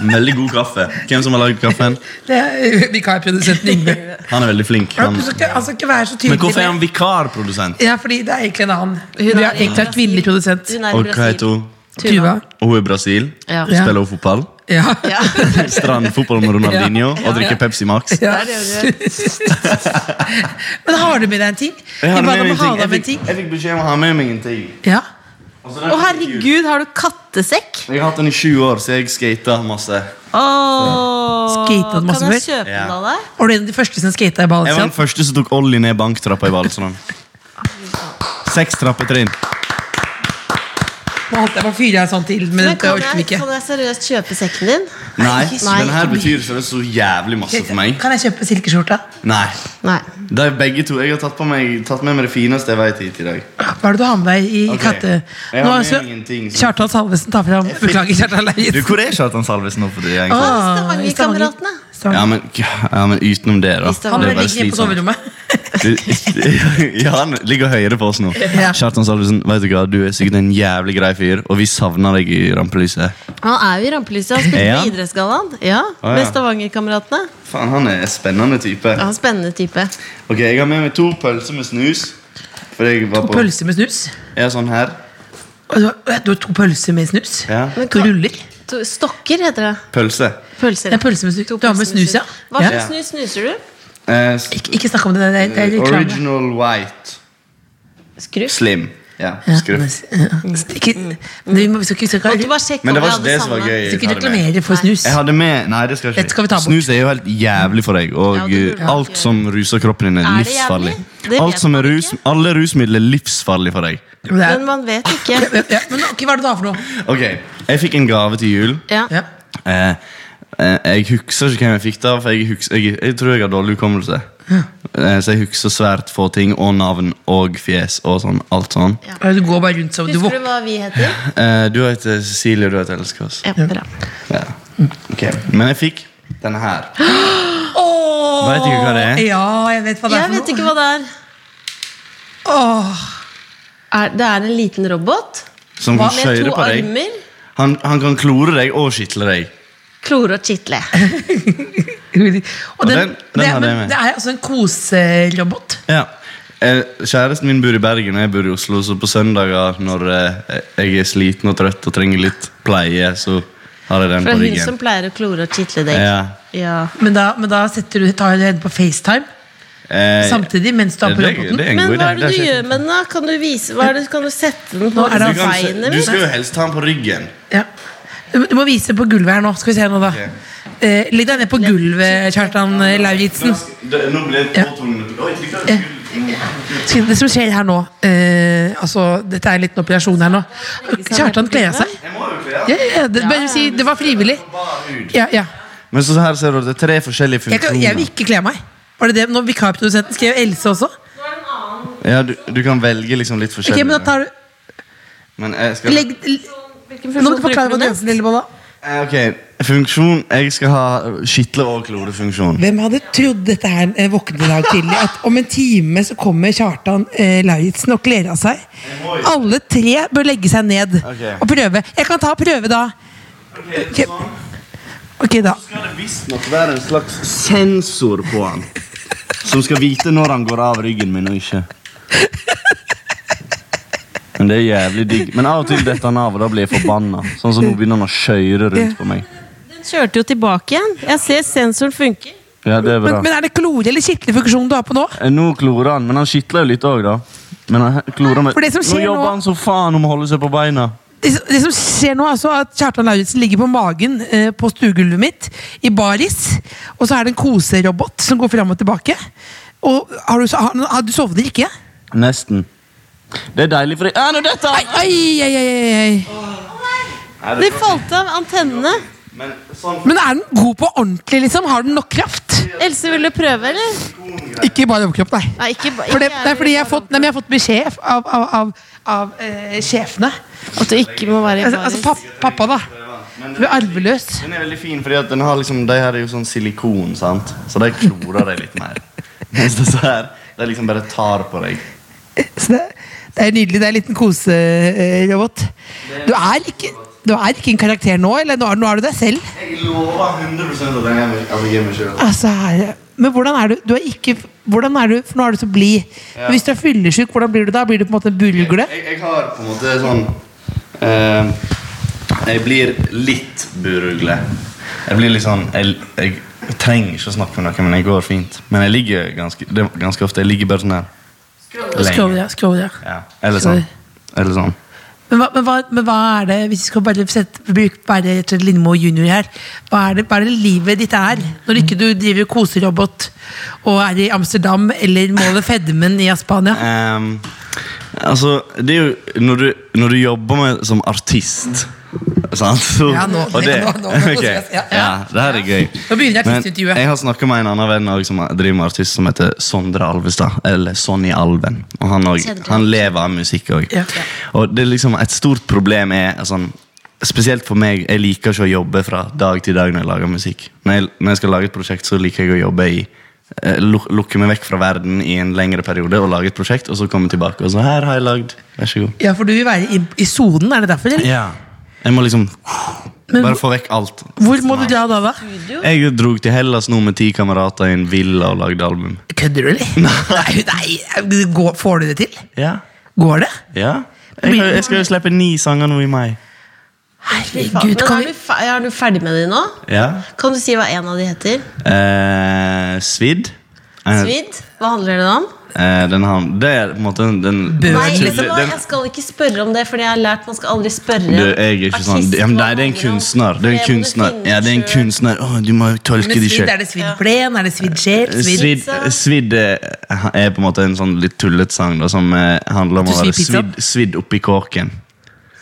Veldig god kaffe. Hvem som har lagd kaffen?
Det er vikarprodusenten Yngve.
Han er veldig flink.
Han
Han.
skal ikke- han skal ikke være så tydelig.
Men hvorfor er han
med-
vikarprodusent?
Ja, fordi det er egentlig en annen.
Hun
Vi
er
har egentlig en kvinnelig produsent.
Hun er i
Og hva heter
Brasil.
hun?
Tuva.
Hun er i Brasil.
Ja.
Spiller hun fotball?
Ja.
Ja.
Strandfotball med Ronaldinho og drikker Pepsi Max.
Ja.
Der gjør du det.
Men har du med deg en ting?
Jeg
Vi
hadde
ba deg
med
om å
meg
ha
en
deg med en
ting.
ting.
Jeg fikk beskjed om å ha med meg en ting.
Ja.
Å,
Å, herregud, har du kattesekk?
Jeg har hatt den i sju år, så jeg skata masse.
Åh,
Skatet den masse
Kan jeg
før?
kjøpe den av deg?
Var du en av de første som skata i
Jeg var
Balenciaga?
den første som tok ollie ned banktrappa i Valsland. Seks trappetrinn.
Nå holdt jeg på å fyre en sånn til, men
Men
det
kan
orker vi
jeg,
ikke.
kan jeg seriøst kjøpe sekken din?
Nei,
Nei.
den her betyr så, så jævlig masse for meg.
Kan jeg kjøpe silkeskjorta?
Nei.
Nei.
Det er begge to. Jeg har tatt, på meg, tatt med meg det fineste jeg vet hit i dag.
Hva er det du har med deg i
Ok.
katte...
Jeg har
Nå
med
altså,
ingenting som-
Kjartan Salvesen tar fram Beklager, Kjartan
Du,
Leien.
Hvor er Kjartan Salvesen nå for tida? egentlig?
Ah, i Stavanger.
Stavangerkameratene.
Ja,
Stavanger.
men, ja, men utenom det, da.
Stavanger.
Han
Det
ligger
er bare
inne på
slitsomt.
soverommet.
Du- Ja, han ligger høyere på oss nå.
Ja.
Kjartan Salvesen, vet du hva? du er sikkert en jævlig grei fyr, og vi savner deg i rampelyset.
Han er jo i rampelyset. Han spilte
Ja.
på Idrettsgallaen. Ja,
Å, ja.
med Stavangerkameratene.
Faen, han er en spennende type.
Ja, spennende type.
Ok, Jeg har med meg to pølser med snus. For jeg var
To
på
pølser med snus.
Jeg er sånn her.
Og Du har du har to pølser med snus?
Ja.
Men
To
hva-
ruller?
To- Stokker heter det.
Pølse.
Pølser.
Det er pølser med snus. Du har med snus, ja?
Hva
ja.
slags snus snuser du?
Eh, s-
Ikke, ikke snakk om det, det er, det er reklame.
original white.
Skruff?
Slim. Ja,
Ja,
skruff.
men- ja. Ikke- men vi må- vi skal ikke-
Kan ikke
skal
bare sjekke
Men det
om jeg
var ikke
hadde
det som var
samme?
gøy.
ikke
jeg hadde med.
reklamere for snus.
Jeg hadde med Nei, det skal
Dette skal vi
ikke
ta bort.
Snus er jo helt jævlig for deg. Og
Ja, det burde
eh,
man
alt
ikke
som ruser kroppen din, er,
Er det
livsfarlig.
jævlig? Det vet
Alt som er
man
rus,
ikke.
alle rusmidler er livsfarlig for deg.
Men det er-
Men man vet ikke.
Ja, men ok, Hva er det du har for noe?
Ok, Jeg fikk en gave til jul.
Ja.
Ja.
Eh, eh, jeg husker ikke hvem jeg fikk det av, for jeg, husker, jeg, jeg tror jeg har dårlig hukommelse. Eh, så jeg husker svært få ting, og navn og fjes og sånn. Alt sånn.
Du går bare rundt som du
Husker
våkner.
du hva vi heter?
Eh, du heter Cecilie, og du heter Elskås.
Ja, bra.
Ja. Ok, Men jeg fikk denne her.
Åh!
Vet ikke hva det er.
Ja, jeg vet hva det er
Jeg
for
vet
noe.
ikke hva det er.
Åh,
Er, det er en liten robot
Som kan
med
skøyre
to
på deg.
armer.
Han, han kan klore deg og skitle deg.
Klore og kitle.
Guri. Og
Ja,
den,
den- den
det,
hadde jeg
men,
med.
det er altså en koserobot.
Ja. Eh, Kjæresten min bor i Bergen, og jeg bor i Oslo, så på søndager når eh, jeg er sliten og trøtt og trenger litt pleie, så har jeg den
For det
på
er hun som
ryggen.
pleier å klore og kitle deg.
Ja.
Ja.
Men da, men da setter du, tar du henne på FaceTime
Eh,
samtidig mens du har på
det,
roboten.
det er en
Men
god idé.
hva er det
Det
du
er
gjør med den? da? Kan du, vise, hva er det, kan du sette den på
Nå er det altså-
Du, Altså, kan,
beinet
se- du
mitt?
skal jo helst ha den på ryggen.
Ja. Du, du må vise på gulvet her nå. Skal vi se nå, da.
Ok.
Eh, Legg deg ned på gulvet, Kjartan eh, Lauritzen.
Nå blir jeg
Ja.
påtvunget Oi, det
Ja. Skal- Det som skjer her nå eh, Altså, Dette er en liten operasjon her nå. Kjartan kler av seg.
Jeg må jo kle av.
Ja, ja, ja, det, bare si det var frivillig.
Bar hud.
Ja, ja.
Men så her ser du at det er tre forskjellige
Jeg, kan,
funksjoner.
jeg vil ikke kle av meg. Var det det? Nå Vikarprodusenten skrev Else også.
Ja, du, du kan velge liksom litt
Ok,
forskjellig.
men da tar du
Men jeg skal...
legg, Nå må du forklare hva du gjør. Lillebolla.
Eh, Ok, funksjon Jeg skal ha skitle- og klorefunksjon.
Hvem hadde trodd dette her eh, våkne i dag tidlig? At om en time så kommer Kjartan eh, Lauritzen og kler av seg. Alle tre bør legge seg ned
Ok.
og prøve. Jeg kan ta prøve da. Ok. Ok, da.
skal det visstnok være en slags sensor på han. Som skal vite når han går av ryggen min og ikke. Men det er jævlig digg. Men av og til detter han av, og da blir jeg forbanna. Sånn som nå begynner han å skøyre rundt på meg.
Den kjørte jo tilbake igjen. Jeg ser sensoren funker.
Ja, det er
Men,
bra.
men er det klore eller kitlefunksjon du har på nå?
Eh, Nå klorer han, men han skitler jo litt òg, da. Men han klorer med
For det som skjer
Nå
nå-
jobber han så faen om å holde seg på beina.
Det, det som skjer nå, er altså at Kjartan Lauritzen ligger på magen eh, på stuegulvet mitt i baris. Og så er det en koserobot som går fram og tilbake. Og har du, har, har, du sovner ikke?
Nesten. Det er deilig, for jeg Ja, nå detter
Ai,
han!
ai, ai, ai, ai, ai.
Det falt av antennene.
Men sånn
Men er den god på ordentlig, liksom? Har den nok kraft?
Else, vil du prøve, eller?
Ikke bare overkropp, nei.
Nei, ikke, ba-
For det,
ikke
det er fordi jeg har
bare-
fått, nei, men jeg har fått beskjed av, av, av, av eh, sjefene.
At du ikke må være i
Altså, altså
baris.
papp, pappa, da. Du er arveløs.
Den er veldig fin, fordi at den har liksom, de her er jo sånn silikon, sant? Så de klorer deg litt mer. Mens disse her, de liksom bare tar på deg.
Så det, det er nydelig. Det er en liten koserobot. Du er ikke du er ikke en karakter nå, eller nå er, nå er du deg selv?
Jeg lover 100 at den er meg- at jeg er meg selv.
Altså, her, men hvordan er du? du er ikke, hvordan er du? For nå er du så blid. Men Hvis du er fyllesyk, hvordan blir du da? Blir du på en måte en bulgle?
Jeg, jeg har på en måte sånn eh, Jeg blir litt burugle. Jeg blir litt sånn Jeg, jeg trenger ikke å snakke med noen, men jeg går fint. Men jeg ligger ganske, det, er ganske ofte. Jeg ligger bare sånn her.
Skroll, ja. Skroll, ja.
Ja. Eller sånn. Eller sånn.
Men hva, men, hva, men hva er det, hvis vi skal bare sette, bruke bare til Lindmo junior her, hva er, det, hva er det livet ditt er? Når ikke du driver koserobot og er i Amsterdam eller måler fedmen i Spania?
Ehm, altså, det er jo når du, når du jobber med som artist Sant? Så,
Ja, nå-
og det,
nå- nå- nå-
ok.
ja, ja.
ja, det her er gøy.
Nå begynner
Men
artistintervjuet.
jeg har snakka med en annen venn også, som driver med artist, som heter Sondre Alvestad. Eller Sonny Alven. Og han, også, han lever av musikk òg.
Ja.
Og det er liksom et stort problem er altså, Spesielt for meg, jeg liker ikke å jobbe fra dag til dag når jeg lager musikk. Når jeg, når jeg skal lage et prosjekt, så liker jeg å jobbe i eh, luk- Lukke meg vekk fra verden i en lengre periode og lage et prosjekt, og så komme tilbake og så her har jeg lagd. Vær så god.
Ja, for du vil være i- i sonen, er det derfor? Eller?
Jeg må liksom
Men
bare få vekk alt.
Hvor må du dra da, da?
Jeg dro til Hellas nå med ti kamerater i en villa og lagde album.
Kødder du, eller? Nei, nei det går, Får du det til?
Ja.
Går det?
ja. Jeg, har- jeg skal jo slippe ni sanger nå i mai.
Herregud,
Men
kan
er
vi
du, fe- er du ferdig med de nå?
Ja.
Kan du si hva en av de heter?
Eh, svidd. Eh,
Svidd? Hva handler den om?
Eh, den har, det er på en måte den,
Nei,
den,
vet du hva? jeg skal ikke spørre om det, Fordi jeg har lært man skal aldri spørre.
du, jeg er ikke sånn
artist
ja, men Nei,
hva
det er en
handler om.
kunstner. Det er en
må du
kunstner.
finne
Ja, det er en
selv.
kunstner. Å, du må tolke
Men
det
svidd,
sjøl.
er det svidd plen? Er det svidd sjel? Svidd
Svidd
pizza?
svidd, eh, er på en måte en sånn litt tullete sang da, som eh, handler
Du
om å være
sier pizza?
svidd, svidd oppi kåken.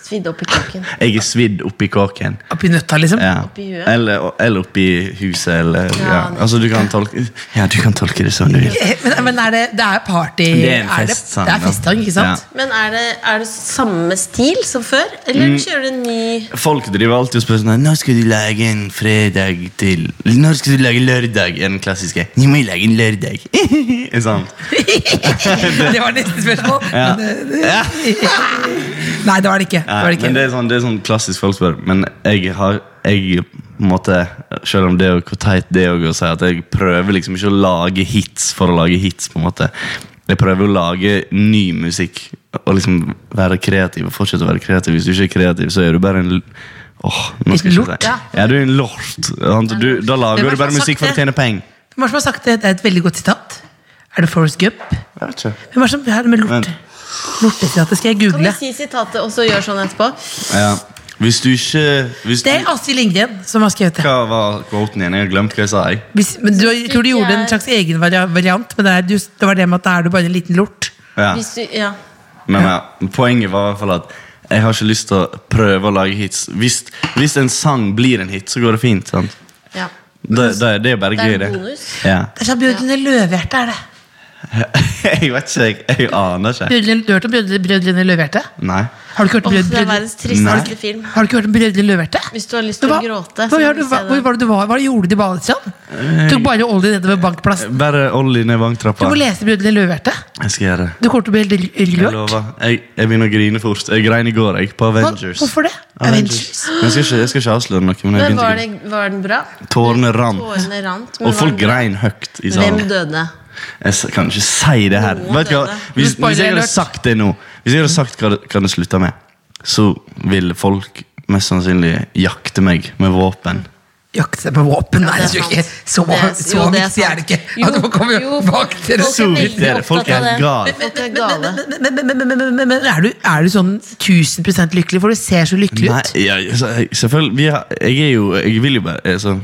Svidd opp i kåken.
Jeg er svidd oppi kåken.
Oppi nøtta, liksom.
Ja.
Oppi huet.
Eller, eller oppi huset, eller ja.
nettopp.
Altså, du kan tolke, ja, du kan tolke det som du vil.
Eh, Men, men er det, det er party
Det er en festsang,
det, det Eh, er
da.
festsang, ikke sant?
Ja.
Men er det, er det samme stil som før, eller
Mm.
kjører du en ny
Folk driver alltid og spør sånn Når skal du lage en fredag til Når skal du lage lørdag? Er den klassiske. Nå må jeg lage en lørdag. sånn. Ikke sant?
Det var neste spørsmål.
Ja.
Men, eh, det- Nei, det var det ikke. Det
Nei,
var det ikke.
men det er, sånn, det er sånn klassisk folk spør. Men jeg har jeg på en måte, Selv om det er jo hvor teit det er å si at jeg prøver liksom ikke å lage hits for å lage hits. på en måte Jeg prøver å lage ny musikk og liksom være kreativ. og fortsette å være kreativ Hvis du ikke er kreativ, så er du bare en l- Åh, nå skal jeg ikke
Lort,
si
ja.
Ja, du er en lort. sant? Du, da
Hvem
lager
er det som
du
har
bare musikk for
sagt
å tjene penger.
Hvem er det som har sagt det? Det er et veldig godt sitat. Er det Forrest Gump? Hvem
Jeg vet ikke.
er det som er det med lort?
Vent.
Lortesitatet skal jeg
Kan du
google.
si sitatet, og så gjør sånn etterpå?
Ja. Hvis du ikke hvis du,
Det er Astrid Lindgren som har skrevet det.
Hva var quoten igjen? Jeg har glemt hva jeg sa. jeg
Hvis, men du, jeg tror du gjorde en slags egen varia- variant, men det, er, du, det var det med at da er du bare en liten lort.
ja.
Hvis du, ja.
Men ja, poenget var i hvert fall at jeg har ikke lyst til å prøve å lage hits. Hvis, hvis en sang blir en hit, så går det fint. sant?
ja.
Det, det, det er bare
Det er
gøy,
en
det.
bonus.
Ja.
Det er sånn Brødrene Løvhjerte, er det.
jeg vet ikke, jeg, jeg aner ikke.
Brødrene, du har hørt om Brødrene, brødrene Løvhjerte?
Nei.
Har du ikke hørt
Åh,
om
det er
Brødrene,
verdens
brødrene,
tristeste
Nei.
film.
har du ikke hørt om brødrene Løvhjerte?
Hvis du har lyst til å
Hva-
gråte, så
hva,
må
gjør
du
du,
se
hva, hvor
den.
var det du var? Hva gjorde du i Balestrand? Tok bare olje nedover bankplassen.
Bare Olli ned
Du
vanntrappa.
må lese Brødrene Løvhjerte.
Jeg skal gjøre det.
Du kommer til å bli helt
Jeg
rørt.
lover. Jeg, jeg begynner å grine fort. Jeg grein i går, jeg, på
Hva-
Avengers.
Hvorfor det? Avengers.
Men Jeg skal ikke, jeg skal ikke avsløre noe, men jeg
Men var,
begynte
det, var den bra?
å grine. Tårene rant.
Tårene rant. men
Og
var
folk
den bra?
grein høyt i
Hvem
salen.
døde?
Jeg s- kan ikke si det her.
Noen
Vet du hva?
døde.
Hvis,
Men spoiler
hvis jeg hadde
alert.
sagt det nå, Hvis jeg hadde sagt hva det, hva det slutta med, så ville folk mest sannsynlig jakte meg med våpen.
Jakte på våpen? Nei,
det er
jeg tror ikke
sant.
så,
Det er-
så
jo, det er
viktig er
sant.
det ikke.
Jo,
At man kommer jo
jo,
bak til det.
folk er
Så
veldig
vidt er det. Folk
opptatt av
er
det.
gale.
Folk er gale.
Men, men, men, men, men, men, men er, du, er du sånn 1000 lykkelig, for du ser så lykkelig
Nei,
ut?
jeg, så jeg, selvfølgelig vi har, Jeg er jo Jeg vil jo bare altså,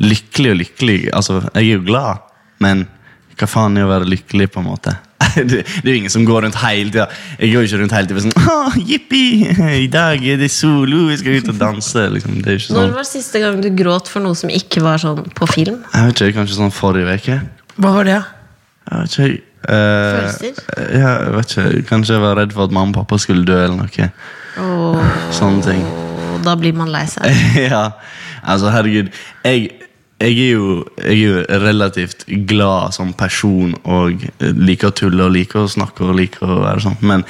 Lykkelig og lykkelig. Altså, jeg er jo glad, men hva faen er å være lykkelig, på en måte? Det, det er jo ingen som går rundt hele tida. Jeg går jo ikke rundt hele tida sånn Åh, jippi! I dag er det solo, vi skal ut og danse. Liksom, det er ikke
Når
sånn.
var siste gang du gråt for noe som ikke var sånn på film?
Jeg vet ikke, Kanskje sånn forrige uke?
Hva var det?
Jeg vet ikke. eh,
Følelser?
ja, jeg vet ikke. Kanskje jeg var redd for at mamma og pappa skulle dø, eller noe.
Og
Sånne ting.
og da blir man lei seg.
Eh.
ja, altså herregud. Jeg, jeg, er jo, jeg er jo relativt glad som person og eh, liker å tulle og liker å snakke og liker å være sånn, men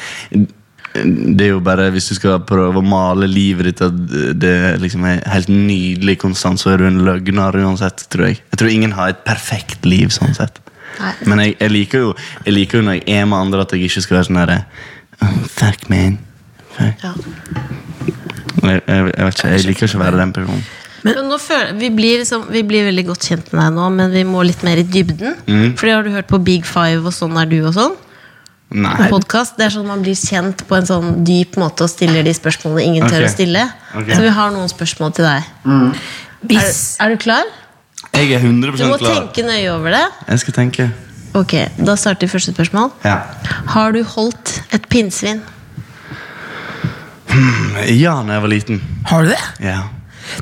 det er jo bare, Hvis du skal prøve å male livet ditt at det liksom er helt nydelig konstant, så er du en løgner uansett, tror jeg. Jeg tror ingen har et perfekt liv sånn sett.
Nei.
Men jeg, jeg, liker jo, jeg liker jo når jeg er med andre, at jeg ikke skal være sånn herre Fuck, man. Fuck.
Ja.
Jeg, jeg, jeg vet ikke, jeg liker ikke å være den personen.
Men nå føler, vi, blir liksom, vi blir veldig godt kjent med deg nå, men vi må litt mer i dybden.
Mm.
Fordi har du hørt på Big Five og Sånn er du og sånn?
Nei.
Podcast, det er sånn man blir kjent på en sånn dyp måte og stiller de spørsmålene ingen tør
Ok.
å stille.
Ok.
Så vi har noen spørsmål til deg. Er,
Hvis
er du klar?
Jeg er 100
Du må
klar.
tenke nøye over det.
Jeg skal tenke.
Ok, Da starter første spørsmål.
Ja.
Har du holdt et pinnsvin?
ja, når jeg var liten.
Har du det?
Ja.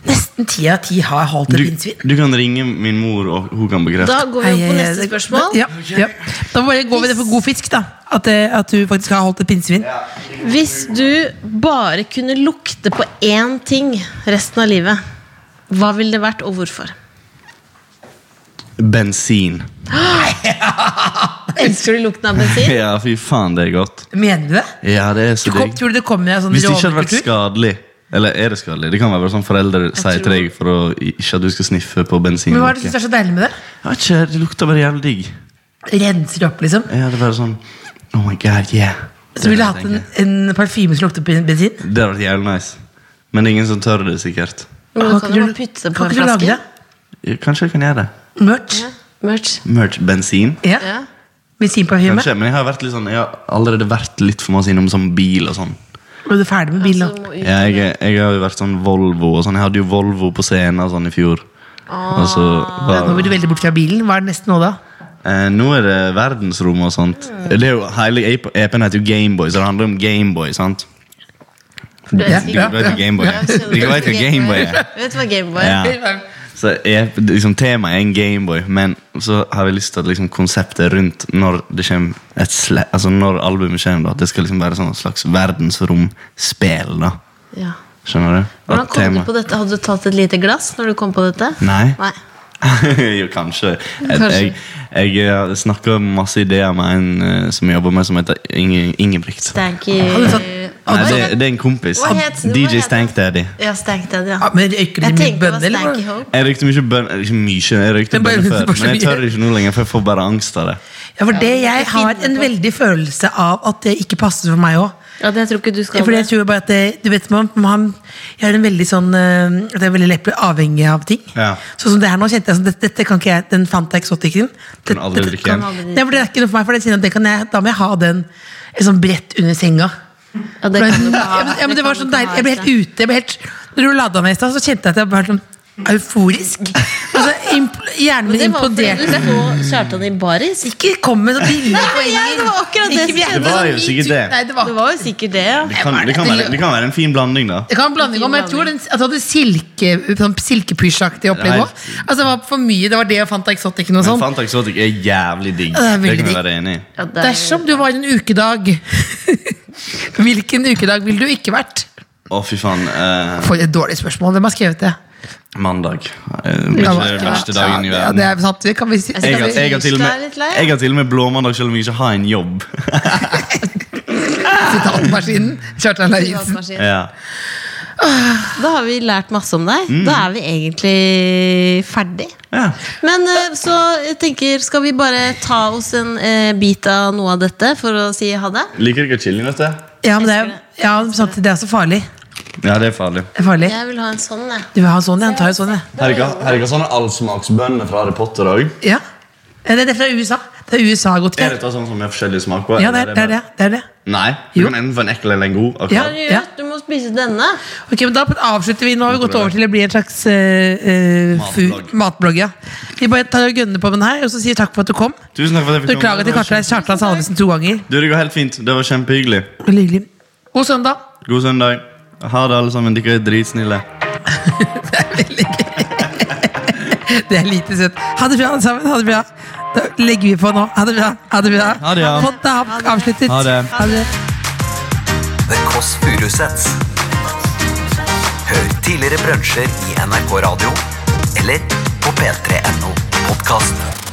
Nesten ti av ti har holdt
Du,
et pinnsvin.
du kan ringe min mor, og hun kan bekrefte.
Da går vi opp på neste spørsmål.
Ja, ja. Da må vi bare gå med det for god fisk, da. At, eh, at du faktisk har holdt et pinnsvin.
Hvis du bare kunne lukte på én ting resten av livet, hva ville det vært, og hvorfor?
Bensin.
Elsker du lukten av bensin?
Ja, fy faen, det er godt.
Mener du det?
Ja, det er så
Du kom,
digg.
tror du det kommer en sånn
Hvis det ikke hadde vært
rovdyrkultur?
skadelig Eller er det skadelig? Det kan være bare sånn foreldre sier til deg for å ikke at du skal sniffe på bensin.
Men hva er det du
Jeg
synes er så deilig med det?
vet ikke, Det lukter bare jævlig digg.
Renser opp, liksom.
Jeg hadde bare sånn Oh my god, yeah.
Så ville jeg
Det er
hatt
det
en,
jeg tenker.
en parfyme som lukter ben- bensin.
Det hadde vært jævlig nice. Men det er ingen som tør det, sikkert.
Men
Kan
du kan
ikke
jo
du-
bare putte på
kan
en
ikke du lage
flaske.
Kanskje jeg kan gjøre det.
det? Merch.
Merch.
Merch bensin.
Ja.
Ja.
Bensinparfyme.
Kanskje, men jeg har, vært litt sånn, jeg har allerede vært litt for masse innom sånn bil og sånn.
Men du er ferdig med bil nå.
Så må ut-
Jeg, jeg har jo vært sånn Volvo og sånn. Jeg hadde jo Volvo på scenen og sånn i fjor. Og så
Ja, Nå
var,
blir du veldig bort fra bilen. Hva er det neste nå, da?
eh, nå er det verdensrom og sånt. Det er jo, hele EP-en heter jo Gameboy, så det handler om Gameboy. sant?
Du vet
Du
ikke.
vet hva Gameboy er.
Ja,
Du vet hva Gameboy er.
Du vet hva Gameboy er.
Ja. Så jeg, liksom, temaet er en Gameboy, men så har vi lyst til at liksom, konseptet rundt når det kommer et sle altså når albumet kommer, da, at det skal liksom være sånn et slags verdensromspill. da.
Ja.
Skjønner du?
Hvordan
At
kom du
tema-
på dette? Hadde du tatt et lite glass når du kom på dette?
Nei.
Nei.
jo, kanskje. Jeg,
Kanskje.
jeg, jeg snakker masse ideer med en eh, som jeg jobber med, som heter Inge, Ingebrigt.
Stanky
Har du tatt-
Nei,
Hva
det,
het-
det er en kompis.
Hva het- hva
DJ
het-
Stank Daddy.
Ja, Stank Daddy, ja.
Ja, men røyker de
Jeg
Ah, mye
tenkte det var
bønner, eller?
Stanky
hva?
Hope.
Jeg røykte mye bønn Ikke mye, jeg røykte
Men bare-
bønn før.
bare så
Men jeg
mye.
tør ikke nå lenger, for jeg får bare angst av det.
Ja, for det, jeg har en veldig følelse av at det ikke passer for meg òg.
Ja, det tror ikke du skal
Fordi jeg tror bare at det, du vet, man, man, Jeg er en veldig sånn eh, At jeg er veldig lett blir avhengig av ting.
Ja.
Sånn som det her nå kjente jeg sånn, dette, dette kan ikke jeg, Den fant jeg eksotikken.
Kan aldri drikke igjen.
Nei, for det er ikke noe for meg, for det kjenner jeg at det kan jeg, da må jeg ha den eh, sånn bredt under senga.
Ja, det
For-
kan du ikke ha.
ja, men, ja, men det var
kan du
sånn
ikke
deilig.
ha,
Jeg ble helt
ikke?
ute. Jeg ble helt, når du lada meg i stad, så kjente jeg at jeg var sånn euforisk. Altså, impl- hjernen min
Det var fordi
imploderte.
du så Kjartan i baris.
Ikke kom med sånne billige
ja,
poenger.
det var akkurat det
Ikke-
som skjedde.
Det var jo sikkert det.
Nei, det var
Det var jo sikkert det, ja.
Det kan, det, kan være, det kan være en fin blanding, da.
Det kan blande om, men jeg tror den, at du hadde silke, sånn silkepysjaktig opplegg
Nei.
òg. Altså, det var for mye. Det var det og Fanta Exotic og
Men
sånn.
Fanta Exotic er jævlig digg.
Ja, det er
Det
veldig
kan vi
digg.
være enig i.
Ja, det er-
Dersom du var en ukedag, hvilken ukedag ville du ikke vært?
Å, fy faen. eh,
For et dårlig spørsmål. Hvem har skrevet det?
mandag. Eh, ikke den verste dagen i
Ja,
verden.
det er sant. Det kan vi si.
Jeg har,
skal
jeg, har til og
Tirsdag er
med,
litt lei.
jeg har til og med blåmandag selv om jeg ikke har en jobb.
Sitatmaskinen. Kjartan Lauritzen.
Privatmaskin.
ja.
Da har vi lært masse om deg. Da er vi egentlig ferdig.
Ja.
Men eh, så jeg tenker, skal vi bare ta oss en eh, bit av noe av dette for å si ha det?
Liker dere chili, vet du?
Ja, men det er, ja, samtidig det er så farlig.
Ja, det er farlig.
Det er farlig.
Jeg vil ha en sånn, jeg.
Du vil ha en sånn, ja? Han tar jo sånn, ja.
Her er ikke- her er ikke sånne allsmaksbønner fra Harry Potter òg.
ja. Det er det fra USA. Det er USA godt
Er
kjent.
dette sånn som har forskjellig smak på?
Ja, det
eller
er det. Er det. det, er det.
bare- Nei. Du
Jo.
kan enten få en ekkel eller en god. akkurat.
Ja.
Seriøst, du må spise denne.
Ok, men Da avslutter vi. Nå har vi gått over til å bli en slags eh, eh, fu-
Matblogg.
matblogg. ja Vi bare tar og gønner på med den her, og så sier takk for at du kom.
Tusen takk for at jeg fikk
Beklager til
Det var kjempe-
Kartleis Kjartan Salvesen to ganger.
Du, Det går helt fint. Det var kjempehyggelig.
Veldig hyggelig. God søndag.
God søndag. Ha det, alle sammen. Dere er dritsnille.
Det er lite søtt. Ha det bra, alle sammen. Ha det bra. Da legger vi på nå. Ha det bra. Ha det bra.
Ha det, ja.
Fått det av- avsluttet.
Ha det.
Ha det.
The Kåss Furuseths. Hør tidligere brunsjer i NRK Radio eller på p3.no podkast.